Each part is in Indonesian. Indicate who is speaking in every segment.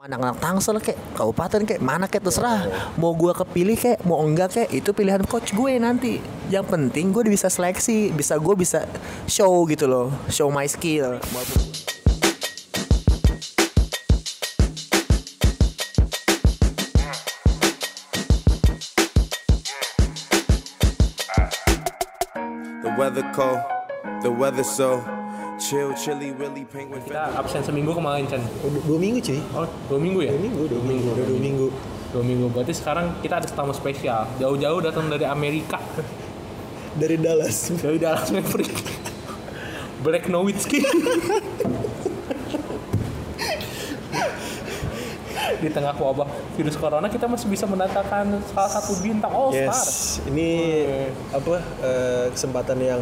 Speaker 1: anak-anak Tangsel kek, kabupaten kek, mana kek terserah. Mau gua kepilih kek, mau enggak kek, itu pilihan coach gue nanti. Yang penting gue bisa seleksi, bisa gue bisa show gitu loh, show my skill.
Speaker 2: The weather cold, the weather so chill, chilly, willy, penguin.
Speaker 3: Kita absen seminggu kemarin, Chan.
Speaker 4: Udah Dua minggu cuy.
Speaker 3: Oh, dua minggu ya?
Speaker 4: Dua minggu, dua minggu, udah dua minggu.
Speaker 3: Dua minggu. Berarti sekarang kita ada tamu spesial. Jauh-jauh datang dari Amerika.
Speaker 4: Dari Dallas.
Speaker 3: Dari Dallas Maverick. Black Nowitzki. di tengah wabah virus corona kita masih bisa menatakan salah satu bintang all star
Speaker 4: Yes, ini apa eh, kesempatan yang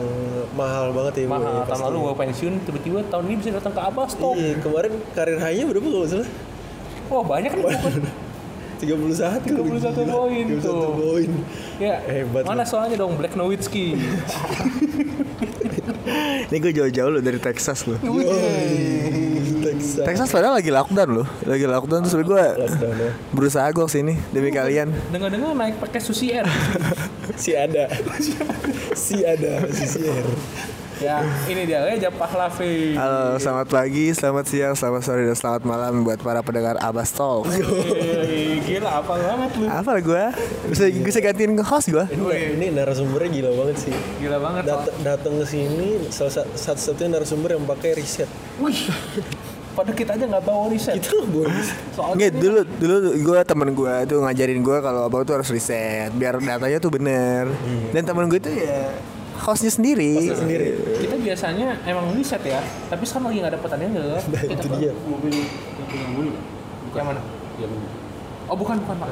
Speaker 4: mahal banget ya Bu, ya,
Speaker 3: mahal tahun
Speaker 4: pasti.
Speaker 3: lalu gue pensiun tiba-tiba tahun ini bisa datang ke Abastok
Speaker 4: Iya, kemarin karir hanya berapa kalau nggak salah?
Speaker 3: wah banyak nih pokoknya. 31
Speaker 4: 31 Gila,
Speaker 3: poin
Speaker 4: 31
Speaker 3: tuh.
Speaker 4: poin.
Speaker 3: ya
Speaker 4: Hebat
Speaker 3: mana soalnya dong Black Nowitzki
Speaker 1: Ini gue jauh-jauh loh dari Texas loh.
Speaker 4: Texas.
Speaker 1: Iya. Texas padahal lagi lockdown loh, lagi lockdown terus gue
Speaker 4: Lockdown ya.
Speaker 1: berusaha gue kesini demi kalian.
Speaker 3: dengar-dengar naik pakai susi air
Speaker 4: Si ada. si ada si Sier.
Speaker 3: ya ini dia Reja Pahlavi
Speaker 1: Halo, selamat pagi, selamat siang, selamat sore, dan selamat malam buat para pendengar Abas Talk.
Speaker 3: Yeay, gila apa banget lu
Speaker 4: Ah,
Speaker 1: Apa lah gue? Bisa, bisa gantiin host gue?
Speaker 3: Oh,
Speaker 4: Ini,
Speaker 3: iya.
Speaker 4: ini narasumbernya gila banget sih.
Speaker 3: gila banget
Speaker 4: Dat- datang ke sini salah satu satu-satunya narasumber yang pakai riset.
Speaker 3: wih padahal kita aja nggak tahu riset
Speaker 4: Itu boleh.
Speaker 3: soalnya
Speaker 1: Nggak, dulu dulu gue temen gue tuh ngajarin gue kalau abang tuh harus riset biar datanya tuh bener. Dan temen gue tuh ya Hmm. hostnya sendiri. sendiri.
Speaker 3: kita biasanya emang riset ya tapi sekarang lagi nggak ada pertandingan nggak
Speaker 4: Nah, itu dia.
Speaker 3: mobil yang dulu yang mana oh bukan bukan pak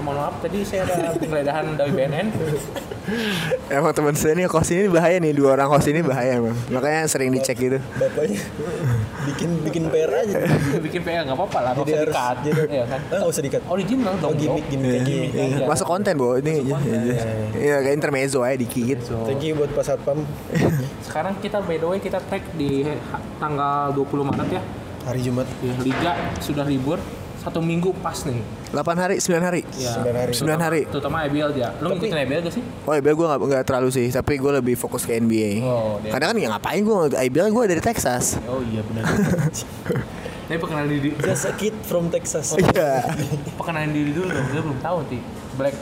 Speaker 3: Oh, mohon maaf tadi saya ada penggeledahan dari BNN
Speaker 1: Emang temen saya nih host ini bahaya nih dua orang host ini bahaya emang. Makanya sering dicek gitu.
Speaker 4: Bapaknya bikin bikin PR aja.
Speaker 3: bikin PR nggak apa-apa lah nggak
Speaker 4: Jadi
Speaker 3: usah
Speaker 4: harus
Speaker 3: dikat
Speaker 4: jadi
Speaker 3: ya kan
Speaker 4: Ah, nggak usah dikat.
Speaker 3: original dong
Speaker 4: Oh, gimmick,
Speaker 3: Jo.
Speaker 4: gimmick, gimmick.
Speaker 3: Iya.
Speaker 1: Iya. Masuk konten bu, ini iya, iya. Iya, kayak intermezzo aja dikit.
Speaker 3: So,
Speaker 4: Thank you buat Pak Satpam.
Speaker 3: sekarang kita by the way kita tag di ha- tanggal 20 Maret ya
Speaker 4: Hari Jumat.
Speaker 3: Ya, liga sudah libur satu minggu pas nih
Speaker 1: 8 hari, 9 hari.
Speaker 3: ya,
Speaker 4: Iya, Sembilan hari.
Speaker 1: 9 hari.
Speaker 3: terutama EBL dia lo ngikutin EBL gak sih
Speaker 1: Oh IBL gue gak, nggak terlalu sih Tapi gue lebih fokus ke NBA
Speaker 3: Oh, dia-
Speaker 1: Kadang kan ya ngapain gue IBL gue dari Texas
Speaker 3: oh iya benar tapi perkenalan diri
Speaker 4: Just a kid from Texas.
Speaker 1: Iya
Speaker 3: perkenalan diri dulu dong dia belum tahu sih Black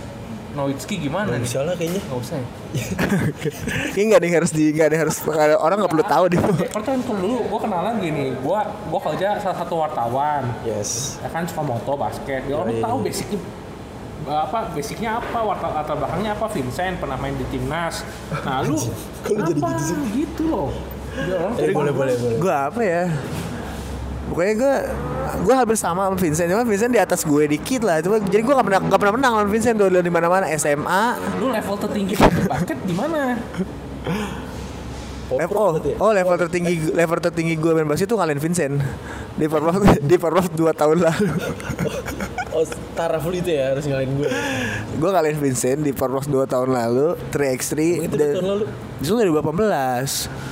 Speaker 3: Nowitzki gimana
Speaker 4: Nggak
Speaker 3: nih
Speaker 4: usah lah kayaknya.
Speaker 3: nggak usah ya
Speaker 1: Ini gak ada yang harus di Gak ada yang harus Orang gak perlu tahu deh
Speaker 3: Eh, pertanyaan ke dulu gue kenalan gini gue gue kerja salah satu wartawan
Speaker 4: Yes.
Speaker 3: ya kan suka moto basket ya
Speaker 4: Iya,
Speaker 3: orang tahu basicnya apa basicnya apa warta latar belakangnya apa Vincent pernah main di timnas nah lu
Speaker 4: Kok lu jadi
Speaker 3: apa
Speaker 4: gitu sih?
Speaker 3: gitu loh ya, orang
Speaker 4: Eh,
Speaker 3: tuh
Speaker 4: boleh boleh boleh.
Speaker 1: Gue apa ya Pokoknya gue Gue hampir sama sama Vincent Cuma Vincent di atas gue dikit lah Cuma, Jadi gue gak pernah, nggak pernah menang lawan Vincent Tuh di mana mana SMA
Speaker 3: lu level tertinggi di basket di mana
Speaker 4: Pop
Speaker 1: oh,
Speaker 4: berarti ya?
Speaker 1: oh level tertinggi level tertinggi gue main basket tuh kalian Vincent di Purple di Purple 2 tahun lalu
Speaker 4: Oh, taraf lu itu ya harus ngalahin gue.
Speaker 1: gue kalian Vincent di Purple 2 tahun lalu 3x3
Speaker 4: Itu
Speaker 1: dan-
Speaker 4: tahun lalu.
Speaker 1: Itu dari 2018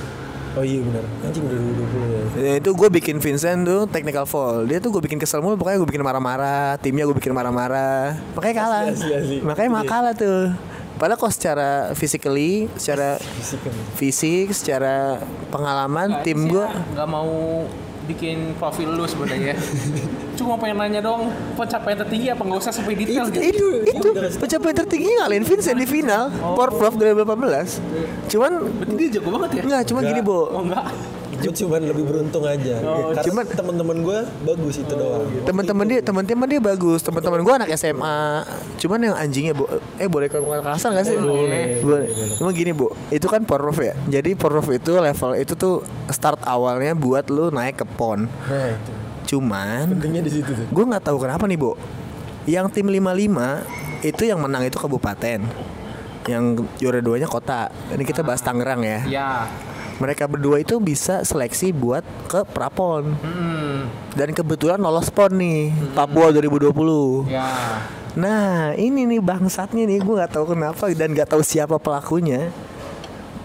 Speaker 4: Oh iya benar. Anjing udah 2020 ya.
Speaker 1: Ya, itu gue bikin Vincent tuh technical foul Dia tuh gue bikin kesel mulu Pokoknya gue bikin marah-marah Timnya gue bikin marah-marah Makanya kalah
Speaker 4: Asli, asli, asli.
Speaker 1: Makanya mah kalah tuh Padahal kok secara physically Secara
Speaker 4: Fisik kan.
Speaker 1: fisik Secara
Speaker 3: Nah,
Speaker 1: pengalaman
Speaker 3: iya.
Speaker 1: Tim gue
Speaker 3: nggak mau bikin profil lu sebenarnya cuma pengen nanya dong pencapaian tertinggi apa nggak usah sampai detail
Speaker 1: itu,
Speaker 3: gitu
Speaker 1: itu, itu pencapaian tertingginya ngalahin Vincent di final Power dari 2018 Cuman
Speaker 3: berarti dia jago banget ya
Speaker 1: Enggak, cuman gini, Bo
Speaker 3: oh enggak
Speaker 4: Gue cuman lebih beruntung aja. Karena
Speaker 1: cuman-
Speaker 4: teman-teman gue bagus itu doang.
Speaker 1: teman-teman dia teman-teman dia bagus teman-teman gue anak SMA cuman yang anjingnya bu eh boleh ke kasar nggak sih boleh boleh emang gini bu itu kan porov ya jadi porov itu level itu tuh start awalnya buat lu naik ke pon
Speaker 4: Nah, itu.
Speaker 1: cuman
Speaker 4: Pentingnya di situ tuh.
Speaker 1: gue nggak tahu kenapa nih bu yang tim 55 itu yang menang itu kabupaten yang juara duanya kota ini kita bahas Tangerang ya
Speaker 3: ya
Speaker 1: mereka berdua itu bisa seleksi buat ke prapon dan kebetulan lolos pon nih Papua 2020
Speaker 3: ya
Speaker 1: nah ini nih bangsatnya nih gue nggak tahu kenapa dan nggak tahu siapa pelakunya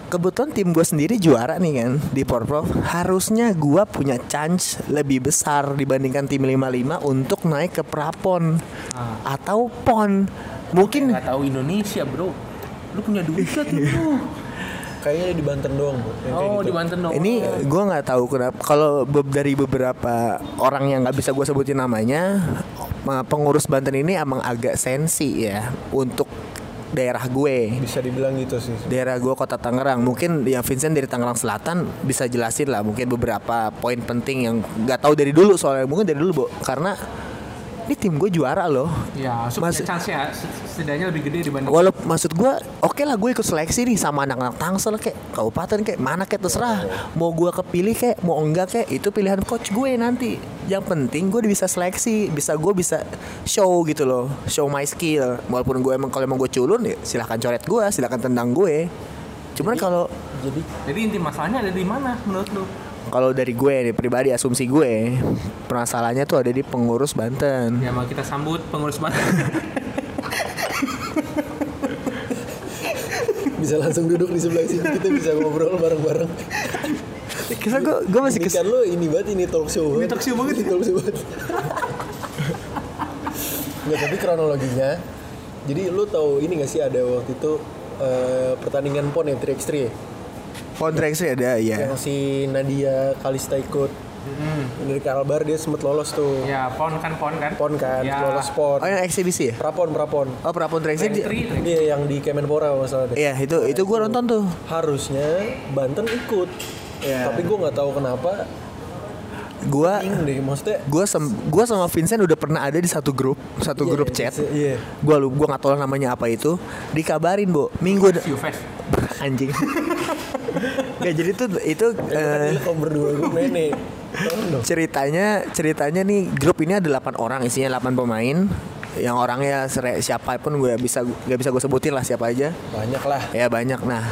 Speaker 1: kebetulan tim gue sendiri juara nih kan di Porprov harusnya gue punya chance lebih besar dibandingkan tim 55 untuk naik ke prapon atau pon mungkin
Speaker 3: Nggak tahu Indonesia bro. Lu punya duit gak tuh? Oh, bro?
Speaker 4: Kayaknya di Banten doang, Bu. yang kayak
Speaker 3: oh
Speaker 4: gitu.
Speaker 3: di Banten dong.
Speaker 1: ini gue nggak tahu kenapa kalau be- dari beberapa orang yang nggak bisa gue sebutin namanya ma- pengurus Banten ini emang agak sensi ya untuk daerah gue
Speaker 4: Bisa dibilang gitu sih.
Speaker 1: daerah gue kota Tangerang mungkin ya Vincent dari Tangerang Selatan bisa jelasin lah mungkin beberapa poin penting yang nggak tahu dari dulu soalnya mungkin dari dulu Bo. karena ini tim gue juara loh
Speaker 3: ya, so
Speaker 1: Mas-
Speaker 3: punya chance-nya setidaknya lebih gede dibanding
Speaker 1: walau maksud gue oke lah gue ikut seleksi nih sama anak-anak Tangsel kayak kabupaten kayak mana kayak terserah mau gue kepilih kayak mau enggak kayak itu pilihan coach gue nanti yang penting gue bisa seleksi bisa gue bisa show gitu loh show my skill walaupun gue emang kalau emang gue culun ya silahkan coret gue silahkan tendang gue cuman kalau
Speaker 4: Jadi
Speaker 3: Jadi inti masalahnya ada di mana menurut lu?
Speaker 1: kalau dari gue nih pribadi asumsi gue permasalahannya tuh ada di pengurus Banten
Speaker 3: Ya mau kita sambut pengurus Banten.
Speaker 4: bisa langsung duduk di sebelah sini kita bisa ngobrol bareng-bareng.
Speaker 1: kisah gue gue masih
Speaker 4: Ini
Speaker 1: kes
Speaker 4: kan lo ini banget ini talk show.
Speaker 3: Ini talk show banget. ya?
Speaker 4: Ini talk show banget. Nggak, tapi kronologinya. Jadi lu tahu ini gak sih ada waktu itu eh, pertandingan PON ya 3x3 ya?
Speaker 1: kontrak sih ada ya
Speaker 3: Iya.
Speaker 4: Yang si Nadia Kalista ikut.
Speaker 3: Hmm.
Speaker 4: Dari Kalbar dia sempat lolos tuh.
Speaker 3: ya pon kan pon kan.
Speaker 4: PON kan,
Speaker 3: Ya.
Speaker 4: lolos PON.
Speaker 1: oh yang eksibisi ya
Speaker 4: Prapon, Prapon.
Speaker 1: oh prapon track
Speaker 3: Tri, tri.
Speaker 4: Iya yang di Kemenpora kalau nggak salah deh.
Speaker 1: Iya itu itu gue nonton tuh
Speaker 4: Harusnya Banten ikut.
Speaker 1: Iya.
Speaker 4: Tapi gue nggak tahu kenapa.
Speaker 1: gue
Speaker 4: Bingung deh maksudnya.
Speaker 1: gue sem gue sama Vincent udah pernah ada di satu grup satu grup chat
Speaker 4: Iya.
Speaker 1: gue lu gue nggak tahu lah namanya apa itu dikabarin bu minggu de-
Speaker 3: View face.
Speaker 1: anjing Gak jadi tuh itu eh,
Speaker 4: Gila kalau berdua gue nenek. Tolong dong.
Speaker 1: ceritanya ceritanya nih grup ini ada 8 orang isinya 8 pemain yang orangnya sere- siapa pun gue bisa gak bisa gue sebutin lah siapa aja
Speaker 4: Banyak lah.
Speaker 1: ya banyak nah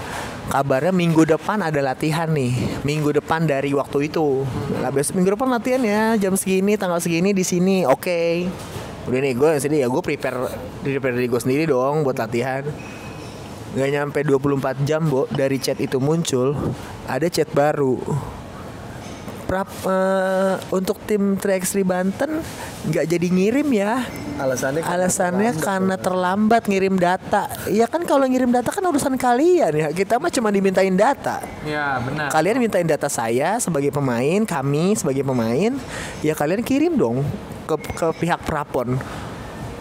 Speaker 1: kabarnya minggu depan ada latihan nih minggu depan dari waktu itu nah, besok minggu depan latihan ya jam segini tanggal segini di sini oke udah nih gue sini ya gue prepare prepare diri gue sendiri dong buat latihan nggak nyampe 24 jam bo dari chat itu muncul ada chat baru Prap, eh, untuk tim 3x3 Banten nggak jadi ngirim ya
Speaker 4: Alasannya karena
Speaker 1: alasannya karena terlambat ngirim data ya kan kalau ngirim data kan urusan kalian ya kita mah cuma dimintain data
Speaker 3: Ya benar.
Speaker 1: kalian mintain data saya sebagai pemain kami sebagai pemain ya kalian kirim dong ke, ke pihak prapon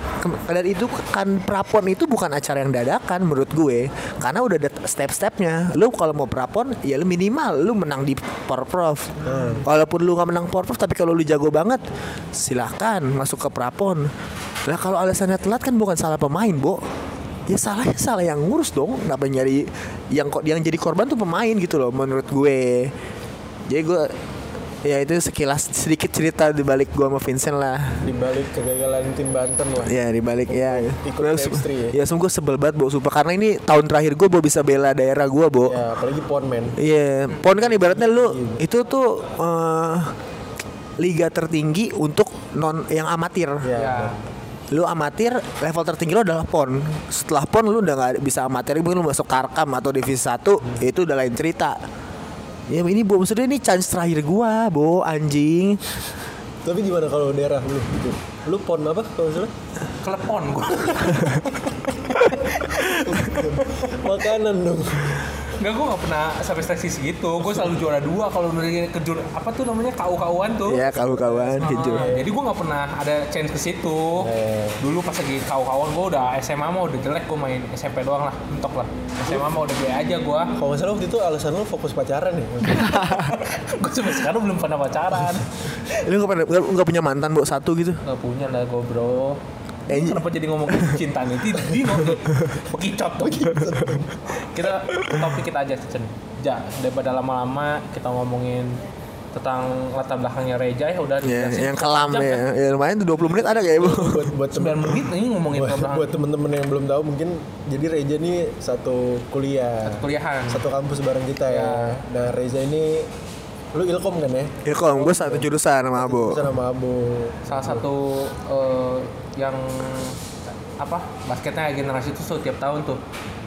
Speaker 1: Ke- dan itu kan prapon itu bukan acara yang dadakan menurut gue karena udah ada step-stepnya lu kalau mau prapon ya lu minimal lu menang di porprov walaupun lu nggak menang porprov tapi kalau lu jago banget silahkan masuk ke prapon lah kalau alasannya telat kan bukan salah pemain bo ya salahnya salah yang ngurus dong kenapa nyari yang kok yang jadi korban tuh pemain gitu loh menurut gue jadi gue ya itu sekilas sedikit cerita di balik gue sama Vincent lah
Speaker 4: dibalik kegagalan tim Banten lah.
Speaker 1: ya di balik ya
Speaker 4: Ikut
Speaker 1: Gua-
Speaker 4: Dexter
Speaker 1: ya sungguh sebel banget bo sumpah karena ini tahun terakhir gue bo bisa bela daerah gue bo
Speaker 4: Ya, apalagi pon men.
Speaker 1: Iya, pon kan ibaratnya lu itu tuh eh, liga tertinggi untuk non yang amatir.
Speaker 3: Ya.
Speaker 1: Lu amatir level tertinggi lu adalah pon. Setelah pon lu udah nggak bisa amatir, mungkin lu masuk tarkam atau divisi 1, itu udah lain cerita. Ya ini bu, maksudnya ini chance terakhir gua, bu anjing.
Speaker 4: Tapi gimana kalau daerah lu? Lu pon apa kalau salah?
Speaker 3: Kelepon gua.
Speaker 4: Makanan dong.
Speaker 3: Enggak gua nggak pernah sampai seleksi segitu. Gua selalu juara dua kalau dari kejur apa tuh namanya KU-KUan tuh.
Speaker 1: Ya kawan-kawan,
Speaker 3: Ah,
Speaker 1: gitu.
Speaker 3: jadi gue nggak pernah ada chance ke situ. Dulu pas lagi kawan-kawan gue udah SMA mah udah jelek gue main SMP doang lah, mentok lah. SMA mah udah biaya aja gue.
Speaker 4: Kalau nggak salah waktu itu alasan lu fokus pacaran ya.
Speaker 3: gue sampai sekarang belum pernah pacaran.
Speaker 1: Lu nggak pernah- nggak- nggak punya mantan bu satu gitu?
Speaker 3: Gak punya lah gue bro.
Speaker 1: Eh,
Speaker 3: Ini kenapa jadi ngomong cinta nih? Tidak, di ngomong bekicot tuh. kita topik kita aja Cen. Ja, daripada lama-lama kita ngomongin tentang latar belakangnya Reja ya udah
Speaker 1: Ya,
Speaker 3: dijelasin
Speaker 1: yang kelam
Speaker 3: jam,
Speaker 1: ya. ya. lumayan tuh 20 menit ada kayak bu.
Speaker 4: buat buat
Speaker 3: 9
Speaker 4: temen-
Speaker 3: menit ini ngomongin
Speaker 4: buat,
Speaker 3: latar belakang
Speaker 4: buat temen-temen yang belum tahu mungkin jadi Reja ini satu kuliah
Speaker 3: kuliahan.
Speaker 4: satu kampus bareng kita
Speaker 3: Iya.
Speaker 4: ya nah Reza ini lu ilkom kan ya
Speaker 1: Ya kalau gue satu Oh. jurusan sama bu.
Speaker 4: Terus sama Abu
Speaker 3: salah satu eh, yang apa basketnya generasi itu tuh tiap tahun tuh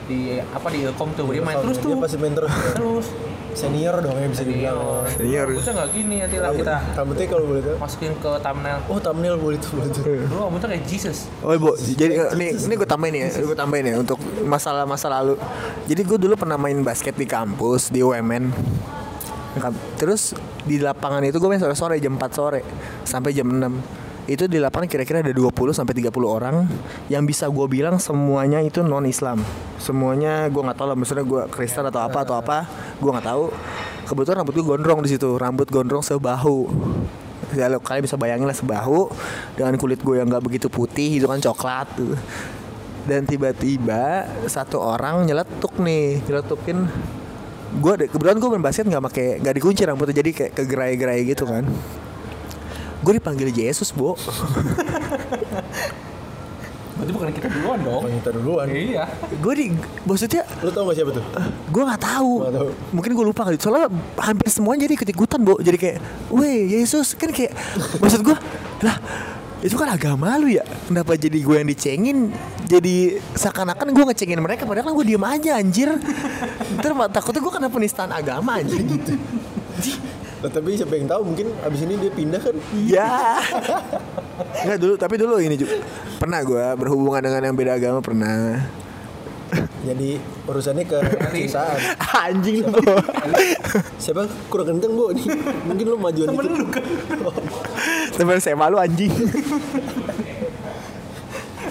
Speaker 3: di apa di Ilkom tuh
Speaker 1: Iya,
Speaker 3: dia main
Speaker 4: Kalau
Speaker 3: terus tuh
Speaker 4: Dia pasti main terus.
Speaker 3: terus
Speaker 4: Senior dong ya bisa dibilang.
Speaker 1: Senior.
Speaker 3: rambutnya nggak gini nanti lah kita
Speaker 4: Rambutnya kalau boleh tahu.
Speaker 3: masukin ke thumbnail
Speaker 4: Oh thumbnail boleh tuh boleh tuh.
Speaker 3: dulu rambutnya kayak Jesus
Speaker 1: Oh bu, jadi eh, nih ini gue tambahin ya, gue tambahin ya untuk masalah masa lalu. Jadi gue dulu pernah main basket di kampus di UMN. Kam- Kan, Terus di lapangan itu gue main sore-sore jam 4 sore sampai jam 6 itu di lapangan kira-kira ada 20 sampai 30 orang yang bisa gue bilang semuanya itu non Islam semuanya gue nggak tahu lah maksudnya gue Kristen atau apa atau apa gue nggak tahu kebetulan rambut gue gondrong di situ rambut gondrong sebahu ya lo- kalian bisa bayangin lah sebahu dengan kulit gue yang nggak begitu putih itu kan coklat tuh. dan tiba-tiba satu orang nyeletuk nih nyeletukin gue ada kebetulan gue main basket nggak pakai nggak dikunci rambutnya jadi kayak kegerai-gerai gitu kan gue dipanggil Yesus bu
Speaker 3: berarti bukan kita duluan dong
Speaker 4: Kita duluan.
Speaker 3: iya
Speaker 1: gue di maksudnya
Speaker 4: Lu tau gak siapa tuh?
Speaker 1: gue nggak tahu
Speaker 4: Nggak tahu.
Speaker 1: mungkin gue lupa kali soalnya hampir semuanya jadi ikut ikutan bu jadi kayak weh Yesus kan kayak maksud gue lah itu kan agama lu ya kenapa jadi gue yang dicengin jadi seakan-akan gue ngecengin mereka padahal kan gue diem aja anjir ntar ma- takutnya gue kena penistaan agama anjir
Speaker 4: Nah, tapi siapa yang tahu mungkin abis ini dia pindah kan?
Speaker 1: ya nggak dulu tapi dulu ini juga pernah gue berhubungan dengan yang beda agama pernah
Speaker 4: Jadi urusannya ke
Speaker 3: Iya.
Speaker 4: cintaan.
Speaker 1: anjing lu Bu.
Speaker 4: Siapa kurang kenceng bu? Nih, mungkin lu majuan dikit.
Speaker 1: temen saya malu anjing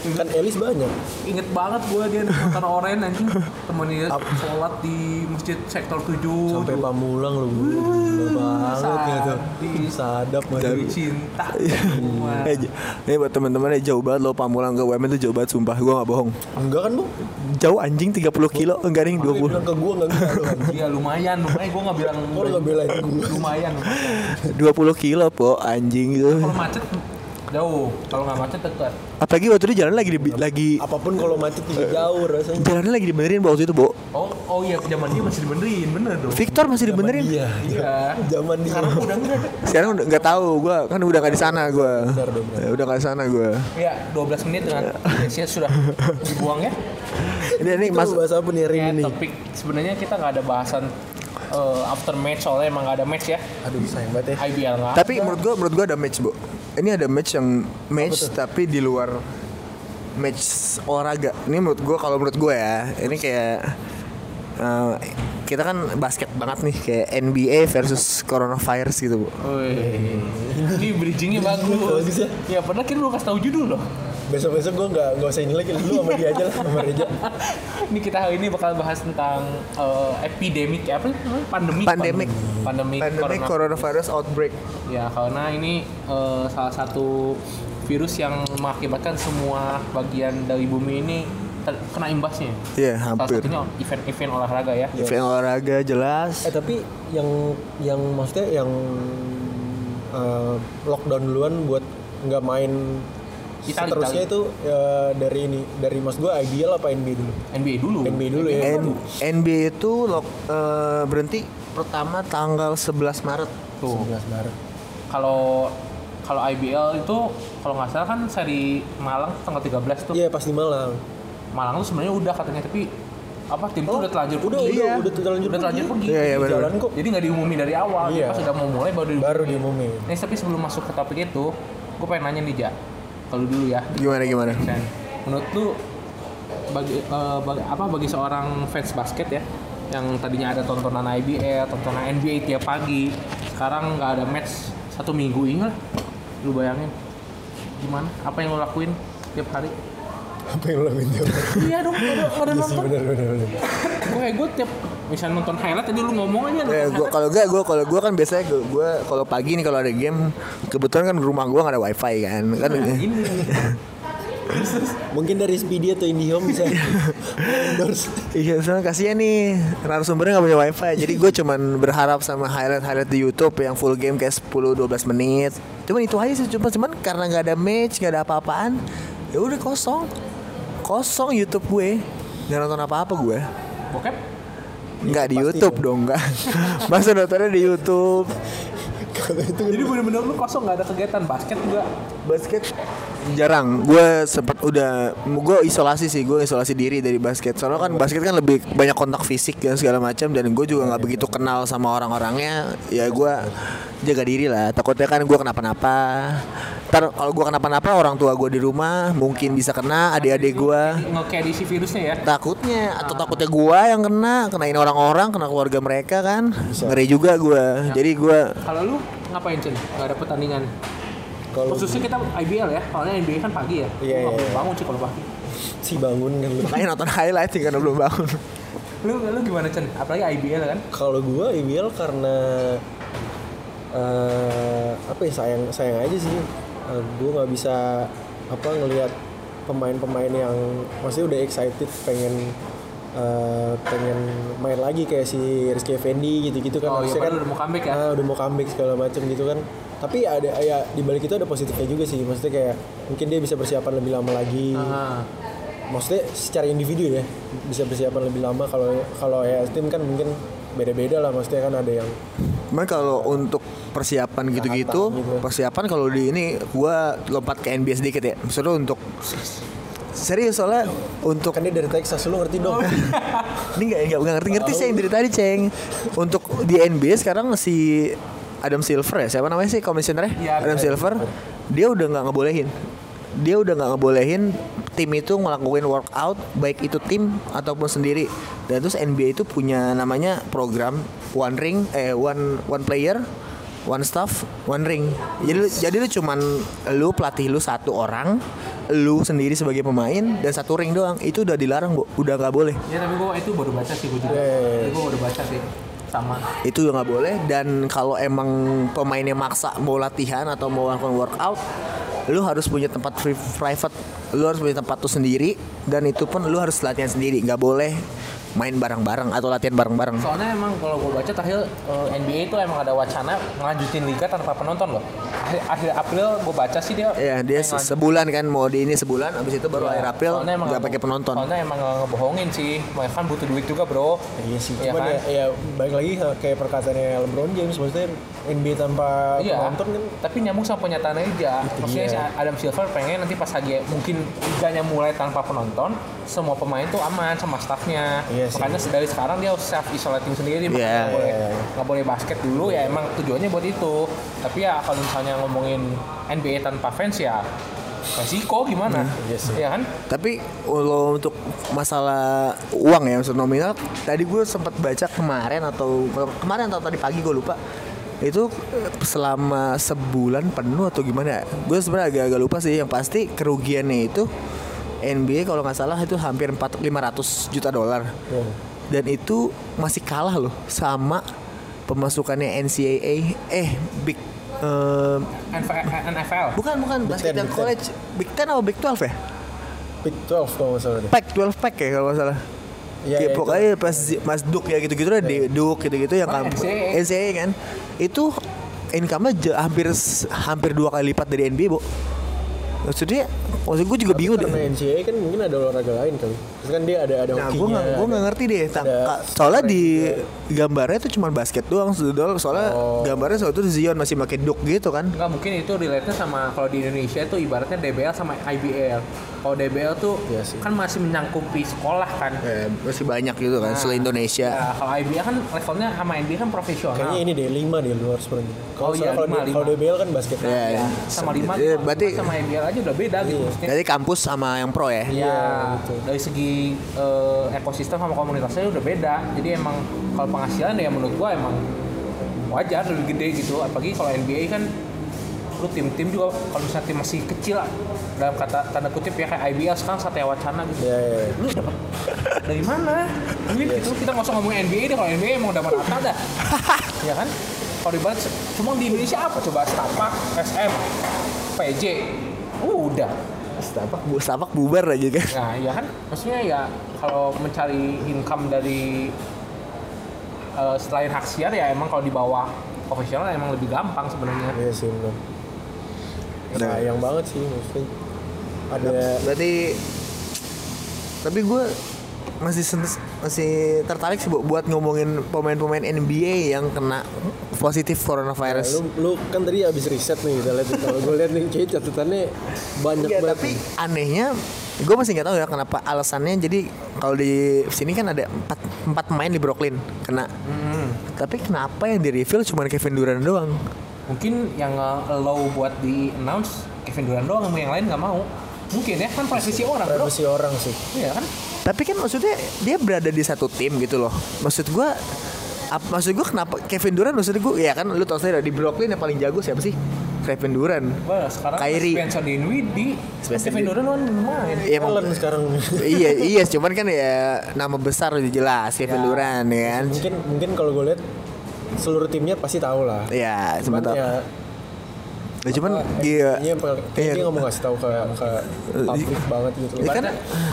Speaker 4: Kan Elis banyak.
Speaker 3: inget banget gue dia nonton oren anjing temennya sholat di masjid sektor 7
Speaker 4: Sampai pamulang lu. Bu. Gila banget ya tuh.
Speaker 3: sadis.
Speaker 4: Sadap
Speaker 3: dari
Speaker 4: banget.
Speaker 3: cinta Iya,
Speaker 1: Eh, j- ini buat teman-teman ya jauh banget lo Pamulang ke UMN itu jauh banget sumpah gue nggak bohong
Speaker 4: Enggak kan bu?
Speaker 1: jauh anjing 30 kilo enggak ring 20
Speaker 4: Dia bilang ke gua enggak bisa lu.
Speaker 3: Iya lumayan, lumayan gue nggak bilang
Speaker 4: Kok lu nggak belain gua?
Speaker 3: lumayan. lumayan.
Speaker 1: 20 kilo po anjing itu
Speaker 3: Kalau macet jauh, kalau nggak macet dekat.
Speaker 1: apalagi waktu itu jalan lagi di, lagi
Speaker 4: Apapun kalau macet juga jauh rasanya.
Speaker 1: jalannya lagi dibenerin Bu, waktu itu bo
Speaker 3: Oh oh iya zaman dia masih dibenerin bener dong.
Speaker 1: Victor masih dibenerin
Speaker 4: Iya.
Speaker 3: Iya.
Speaker 4: Zaman dia.
Speaker 3: Sekarang udah enggak.
Speaker 1: sekarang udah nggak tahu gue kan udah nggak di sana gue
Speaker 4: dong, benar.
Speaker 1: Ya, udah nggak di sana gue
Speaker 3: Iya 12 menit dengan Indonesia sudah dibuang ya.
Speaker 1: ini ini
Speaker 4: Kita
Speaker 1: mas
Speaker 4: mau bahas apa nih hari
Speaker 3: Ya,
Speaker 4: ini? nih?
Speaker 3: topik sebenarnya kita nggak ada bahasan eh, after match soalnya emang nggak ada match ya.
Speaker 4: Aduh sayang banget ya.
Speaker 3: IBL nggak.
Speaker 1: tapi menurut gue menurut gue ada match bo ini ada match yang match tapi di luar match olahraga ini menurut gue kalau menurut gue ya ini kayak eh, kita kan basket banget nih kayak NBA versus coronavirus gitu bu
Speaker 3: Wih, ini bridgingnya
Speaker 4: bagus
Speaker 3: bagus. Ya
Speaker 4: ya.
Speaker 3: padahal kita belum kasih tahu judul loh.
Speaker 4: Besok-besok gua enggak enggak usah ini lagi lu sama dia aja lah, sama Reja.
Speaker 3: Ini kita hari ini bakal bahas tentang eh, epidemic apa sih namanya? pandemi
Speaker 1: Pandemic.
Speaker 3: pandemi
Speaker 1: pandemi
Speaker 3: corona.
Speaker 1: coronavirus outbreak
Speaker 3: ya karena ini eh, salah satu virus yang mengakibatkan semua bagian dari bumi ini ter- kena imbasnya
Speaker 1: Iya,
Speaker 3: salah
Speaker 1: hampir.
Speaker 3: satunya event-event olahraga ya
Speaker 1: event olahraga jelas
Speaker 4: Eh tapi yang yang maksudnya yang eh, lockdown duluan buat nggak main
Speaker 3: Itali,
Speaker 4: seterusnya
Speaker 3: Itali.
Speaker 4: itu eh, dari ini dari mas gue IBL apa NBA dulu?
Speaker 3: NBA dulu
Speaker 4: NBA dulu ya.
Speaker 1: N- NBA itu lock, eh, berhenti pertama tanggal 11 Maret
Speaker 3: tuh
Speaker 4: 11 Maret.
Speaker 3: kalau kalau IBL itu kalau nggak salah kan seri Malang tanggal 13 tuh
Speaker 4: Iya pas di Malang.
Speaker 3: Malang tuh sebenarnya udah katanya tapi apa tim tuh udah terlanjur
Speaker 4: Oh, udah
Speaker 3: pergi.
Speaker 4: udah udah terlanjur
Speaker 3: udah terlanjur pergi
Speaker 1: Iya, iya, benar.
Speaker 4: jalan kok
Speaker 3: jadi nggak diumumin dari awal
Speaker 4: Iya.
Speaker 3: pas udah mau mulai baru diumumin.
Speaker 4: baru diumumin.
Speaker 3: Nih, tapi sebelum masuk ke topik itu, gue pengen nanya nih, Ja. Kalau dulu ya.
Speaker 1: gimana gimana
Speaker 3: Dan menurut lu bagi, eh, bagi- apa bagi seorang fans basket ya yang tadinya ada tontonan IBL, tontonan NBA tiap pagi, sekarang nggak ada match satu minggu ini lah. Lu bayangin gimana? Apa yang lu lakuin tiap hari?
Speaker 4: Apa yang lo lakuin jawab?
Speaker 3: iya dong, nggak ada- nggak ada nonton.
Speaker 4: Bener bener bener.
Speaker 3: Gue kayak gue tiap misalnya nonton highlight tadi lu ngomong aja
Speaker 1: Eh,
Speaker 3: nonton
Speaker 1: gua,
Speaker 3: highlight.
Speaker 1: kalau enggak gua kalau gua kan biasanya gua, gua kalau pagi nih kalau ada game kebetulan kan rumah gua gak ada wifi kan kan
Speaker 3: ini
Speaker 4: Mungkin dari Expedia atau IndiHome bisa endorse.
Speaker 1: iya soalnya kasihan nih narasumbernya gak punya wifi jadi gua cuman berharap sama highlight highlight di YouTube yang full game kayak 10 12 menit cuman itu aja sih cuman cuman karena nggak ada match nggak ada apa-apaan ya udah kosong kosong YouTube gue nggak nonton apa-apa gue
Speaker 3: bokep
Speaker 1: nggak di YouTube dong nggak masa nontonnya di YouTube
Speaker 4: itu
Speaker 3: Jadi bener-bener lu kosong nggak ada kegiatan basket juga.
Speaker 1: basket jarang gue sempet udah gue isolasi sih gue isolasi diri dari basket soalnya kan basket kan lebih banyak kontak fisik dan segala macam dan gue juga nggak begitu kenal sama orang-orangnya ya gue jaga diri lah takutnya kan gue kenapa-napa ntar kalau gue kenapa-napa orang tua gue di rumah mungkin bisa kena adik-adik gue
Speaker 3: Nge-carry si virusnya ya.
Speaker 1: takutnya atau takutnya gue yang kena kenain orang-orang kena keluarga mereka kan ngeri juga gue jadi gue
Speaker 3: Kalau lu ngapain Cen? Gak ada pertandingan.
Speaker 4: kalau
Speaker 3: Khususnya kita IBL ya, soalnya NBA kan pagi ya.
Speaker 4: Iya,
Speaker 3: Lu nggak
Speaker 4: iya,
Speaker 3: boleh bangun sih kalau pagi.
Speaker 4: si bangun kan lu.
Speaker 1: makanya nonton highlight sih karena belum bangun
Speaker 3: Lu lu gimana Cen? Apalagi IBL kan?
Speaker 4: Kalau gua IBL karena eh, apa ya sayang sayang aja sih. Eh, gua nggak bisa apa ngelihat pemain-pemain yang masih udah excited pengen eh, pengen main lagi kayak si Rizky Effendi gitu-gitu kan
Speaker 3: Oh, iya,
Speaker 4: Harusnya
Speaker 3: padahal udah mau comeback ya.
Speaker 4: Ah, udah mau comeback segala macem gitu kan tapi ada ya di balik itu ada positifnya juga sih maksudnya kayak mungkin dia bisa persiapan lebih lama lagi
Speaker 3: Nah,
Speaker 4: maksudnya secara individu ya bisa persiapan lebih lama kalau kalau ya tim kan mungkin beda-beda lah maksudnya kan ada yang
Speaker 1: Cuman kalau untuk persiapan gitu-gitu, persiapan kalau di ini gua lompat ke NBA sedikit ya. Maksudnya untuk serius soalnya untuk
Speaker 4: kan dia dari Texas lu ngerti dong
Speaker 1: ini nggak nggak nggak ngerti-ngerti sih yang dari tadi ceng. Untuk di NBA sekarang si Adam Silver ya siapa namanya sih komisionernya?
Speaker 3: Iya,
Speaker 1: Adam Silver dia udah nggak ngebolehin. Dia udah nggak ngebolehin tim itu ngelakuin workout baik itu tim ataupun sendiri. Dan terus NBA itu punya namanya program one ring eh one one player one staff one ring. Jadi lu- jadi lu cuman lu pelatih lu satu orang lu sendiri sebagai pemain dan satu ring doang itu udah dilarang bu udah nggak boleh
Speaker 3: ya tapi gua itu baru baca sih gua juga.
Speaker 4: Yes.
Speaker 3: Gua baru baca sih. Sama.
Speaker 1: itu udah nggak boleh dan kalau emang pemainnya maksa mau latihan atau mau lakukan workout lu harus punya tempat free private lu harus punya tempat tuh sendiri dan itu pun lu harus latihan sendiri nggak boleh main bareng-bareng atau latihan bareng-bareng
Speaker 3: Soalnya emang kalau gue baca terakhir eh, NBA itu emang ada wacana ngelanjutin liga tanpa penonton loh. Akhir, akhir April gue baca sih dia.
Speaker 1: ya dia se- sebulan kan mau di ini sebulan abis itu baru akhir April
Speaker 3: Soalnya emang
Speaker 1: nggak pakai penonton
Speaker 3: Soalnya emang nggak ngebohongin sih. Mereka kan butuh duit juga bro.
Speaker 4: iya sih
Speaker 3: Iya
Speaker 4: cuman
Speaker 3: kan?
Speaker 4: ya, ya balik lagi kayak perkataannya LeBron James maksudnya NBA tanpa
Speaker 3: Iya.
Speaker 4: penonton kan Iya.
Speaker 3: Tapi nyambung sama pernyataan aja. Maksudnya si Adam Silver pengen nanti pas lagi mungkin liganya mulai tanpa penonton, semua pemain tuh aman sama staffnya.
Speaker 4: Iya sih.
Speaker 3: Makanya dari sekarang dia harus self isolating sendiri. Makanya
Speaker 1: Iya.
Speaker 3: nggak boleh nggak boleh basket dulu ya emang tujuannya buat itu. Tapi ya kalau misalnya ngomongin NBA tanpa fans ya resiko gimana?
Speaker 4: Hmm,
Speaker 3: Iya kan?
Speaker 1: Tapi kalau untuk masalah uang ya maksud nominal, tadi gue sempat baca kemarin atau kemarin atau tadi pagi gue lupa itu selama sebulan penuh atau gimana? Gue sebenarnya agak-agak lupa sih. Yang pasti kerugiannya itu NBA kalau nggak salah itu hampir 4 500 juta dolar.
Speaker 4: ya,
Speaker 1: Dan itu masih kalah loh sama pemasukannya NCAA eh Big eh,
Speaker 3: NFL, NFL.
Speaker 1: bukan bukan basket
Speaker 4: Ten,
Speaker 1: yang
Speaker 4: Big Ten.
Speaker 1: college Big Ten atau Big 12 ya?
Speaker 4: pick 12 kalau nggak salah deh
Speaker 1: pack 12 pack ya kalau nggak salah
Speaker 4: Iya,
Speaker 1: Kayak
Speaker 4: iya,
Speaker 1: pokoknya pas Zi- Mas Duk ya gitu-gitu lah, di- Duk gitu-gitu yang
Speaker 3: Mana
Speaker 1: kamp-
Speaker 3: NCAA?
Speaker 1: NCAA kan. Itu income-nya ja- hampir s- hampir dua kali lipat dari NBA, Bu. Maksudnya, maksud gue juga bingung deh.
Speaker 4: karena NCAA kan mungkin ada olahraga lain kali terus kan dia ada ada
Speaker 1: Nah, gue
Speaker 4: hokinya
Speaker 1: nggak gue nggak ngerti deh. Tang-
Speaker 4: ada
Speaker 1: ka- soalnya di gambarnya tuh cuma basket doang, sedol. Soalnya
Speaker 4: Oh.
Speaker 1: gambarnya soal itu Zion masih pakai Duk gitu kan.
Speaker 3: Enggak mungkin itu relate-nya sama kalau di Indonesia itu ibaratnya DBL sama IBL. Kalau DBL tuh
Speaker 4: Iya sih. Iya
Speaker 3: kan masih menyangkupi sekolah kan.
Speaker 1: Eh, masih banyak gitu
Speaker 4: Nah.
Speaker 1: kan, selain Indonesia.
Speaker 3: Ya, kalau IBL kan levelnya sama NBA kan profesional.
Speaker 4: kayaknya ini deh 5 deh lu harus berhenti kalau
Speaker 3: Oh, iya,
Speaker 4: salah kalau
Speaker 3: lima,
Speaker 4: D- kalau
Speaker 3: lima.
Speaker 4: DBL kan basket
Speaker 1: Ya, ya.
Speaker 3: sama lima
Speaker 1: Eh,
Speaker 3: sama-
Speaker 1: berarti
Speaker 3: sama IBL aja udah beda
Speaker 4: Iya.
Speaker 3: gitu maksudnya.
Speaker 1: berarti kampus sama yang pro ya.
Speaker 3: Ya, dari segi eh, ekosistem sama komunitasnya udah beda. Jadi emang kalau penghasilan ya menurut gua emang wajar lebih gede gitu. Apalagi kalau NBA kan lu tim-tim juga kalau misalnya tim masih kecil lah, dalam kata tanda kutip ya kayak IBL sekarang satya wacana gitu.
Speaker 4: ya, ya, ya.
Speaker 3: lu dapat dari mana duit gitu kita nggak usah ngomongin NBA deh kalau NBA emang dapat apa dah ya kan kalau dibalik cuma di Indonesia apa coba Stapak SM PJ udah
Speaker 1: Setapak, bu- setapak bubar aja kan.
Speaker 3: nah ya kan maksudnya ya kalau mencari income dari eh, selain hak siar ya emang kalau di bawah profesional emang lebih gampang sebenarnya
Speaker 4: Iya sih benar. Sayang banget sih maksudnya. Ada
Speaker 1: berarti tapi gue masih sen- masih tertarik sih Bu, buat ngomongin pemain-pemain NBA yang kena positif
Speaker 4: lu,
Speaker 1: coronavirus.
Speaker 4: lu kan tadi habis riset nih udah liat kalau gue liat nih kayak catatannya banyak
Speaker 1: Iya,
Speaker 4: banget
Speaker 1: tapi anehnya gue masih nggak tahu ya kenapa alasannya jadi kalau di sini kan ada empat empat pemain di Brooklyn kena tapi kenapa yang di reveal cuma Kevin Durant doang
Speaker 3: Mungkin yang allow buat di announce Kevin Durant doang, yang lain nggak mau. Mungkin ya kan presisi orang, bro.
Speaker 4: privacy orang sih
Speaker 3: Iya kan?
Speaker 1: tapi kan maksudnya dia berada di satu tim gitu loh maksud gue ap- maksud gue kenapa Kevin Durant maksud gue ya kan lu tau sendiri di Brooklyn yang paling jago siapa sih Kevin Durant
Speaker 3: Wah, sekarang
Speaker 1: Kyrie.
Speaker 3: Spencer Dinwiddie,
Speaker 1: Spencer
Speaker 3: Kevin Durant kan main.
Speaker 1: Iya, emang-
Speaker 4: Allen sekarang
Speaker 1: iya iya cuman kan ya nama besar udah jelas Kevin Durant ya kan
Speaker 4: mungkin mungkin kalau gue liat seluruh timnya pasti tahu lah
Speaker 1: ya
Speaker 4: Cuman
Speaker 1: sebentar
Speaker 4: ya,
Speaker 1: Nah, cuman dia
Speaker 4: Iya, pel-
Speaker 1: Iya.
Speaker 4: dia nggak mau ngasih tahu ke ke publik banget gitu.
Speaker 1: Iya kan?
Speaker 3: Karena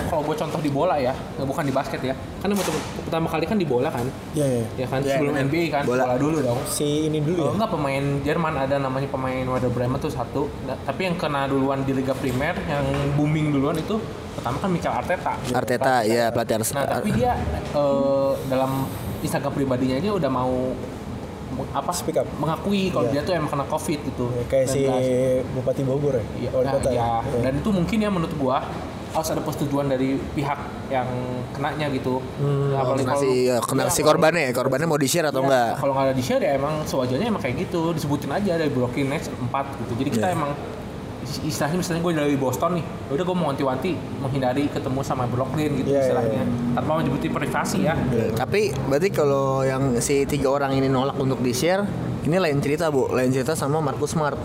Speaker 3: kalau gue contoh di bola ya, nggak bukan di basket ya. Kan pertama, pertama kali kan di bola kan,
Speaker 4: Iya, iya.
Speaker 3: ya kan
Speaker 1: Iya,
Speaker 3: sebelum
Speaker 1: bener.
Speaker 3: NBA kan
Speaker 1: Bola.
Speaker 3: bola, dulu dong.
Speaker 4: Si ini dulu
Speaker 3: Kalau
Speaker 4: ya.
Speaker 3: nggak pemain Jerman ada namanya pemain Werder Bremen tuh satu. Nah, tapi yang kena duluan di Liga Primer, yang booming duluan itu pertama kan Mikel Arteta.
Speaker 1: Arteta ya pelatihan
Speaker 3: Nah tapi dia eh, dalam Instagram pribadinya aja udah mau apa
Speaker 4: Speak up.
Speaker 3: mengakui kalau
Speaker 4: Iya.
Speaker 3: dia tuh emang kena covid gitu
Speaker 4: Ya, Kayak si
Speaker 3: 19.
Speaker 4: Bupati Bogor ya.
Speaker 3: Iya,
Speaker 4: Wali
Speaker 3: nah,
Speaker 4: kota
Speaker 3: iya.
Speaker 4: ya.
Speaker 3: Dan itu mungkin ya menurut gua harus ada persetujuan dari pihak yang kenanya gitu. Nah, apalagi
Speaker 1: kena
Speaker 3: kalau-
Speaker 1: si ya, kena
Speaker 3: Iya,
Speaker 1: si
Speaker 3: kalau-
Speaker 1: korbannya ya korbannya mau di share atau
Speaker 3: iya,
Speaker 1: enggak
Speaker 3: Kalau nggak ada di share ya emang sewajarnya emang kayak gitu disebutin aja dari Brooklyn Nets 4 gitu. Jadi kita emang is- istilahnya misalnya gue dari Boston nih, ya udah gue mau wanti-wanti menghindari ketemu sama Brooklyn gitu
Speaker 4: Iya,
Speaker 3: istilahnya tanpa menyebutin privasi ya.
Speaker 1: Iya. tapi berarti kalau yang si tiga orang ini nolak untuk di share ini lain cerita bu lain cerita sama Marcus Smart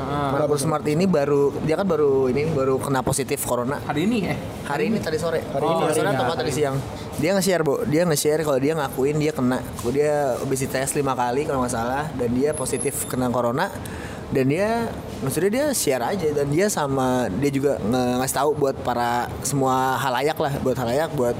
Speaker 3: Nah,
Speaker 1: Marcus Smart ini baru dia kan baru ini baru kena positif corona
Speaker 3: hari ini eh
Speaker 1: hari ini tadi sore hari
Speaker 3: ini, hari
Speaker 1: sore
Speaker 3: ini,
Speaker 1: atau
Speaker 3: hari
Speaker 1: tadi siang dia nge-share bu dia nge-share kalau dia ngakuin dia kena dia habis dites lima kali kalau nggak salah dan dia positif kena corona dan dia maksudnya dia share aja dan dia sama dia juga nge- ngasih tahu buat para semua halayak lah buat halayak buat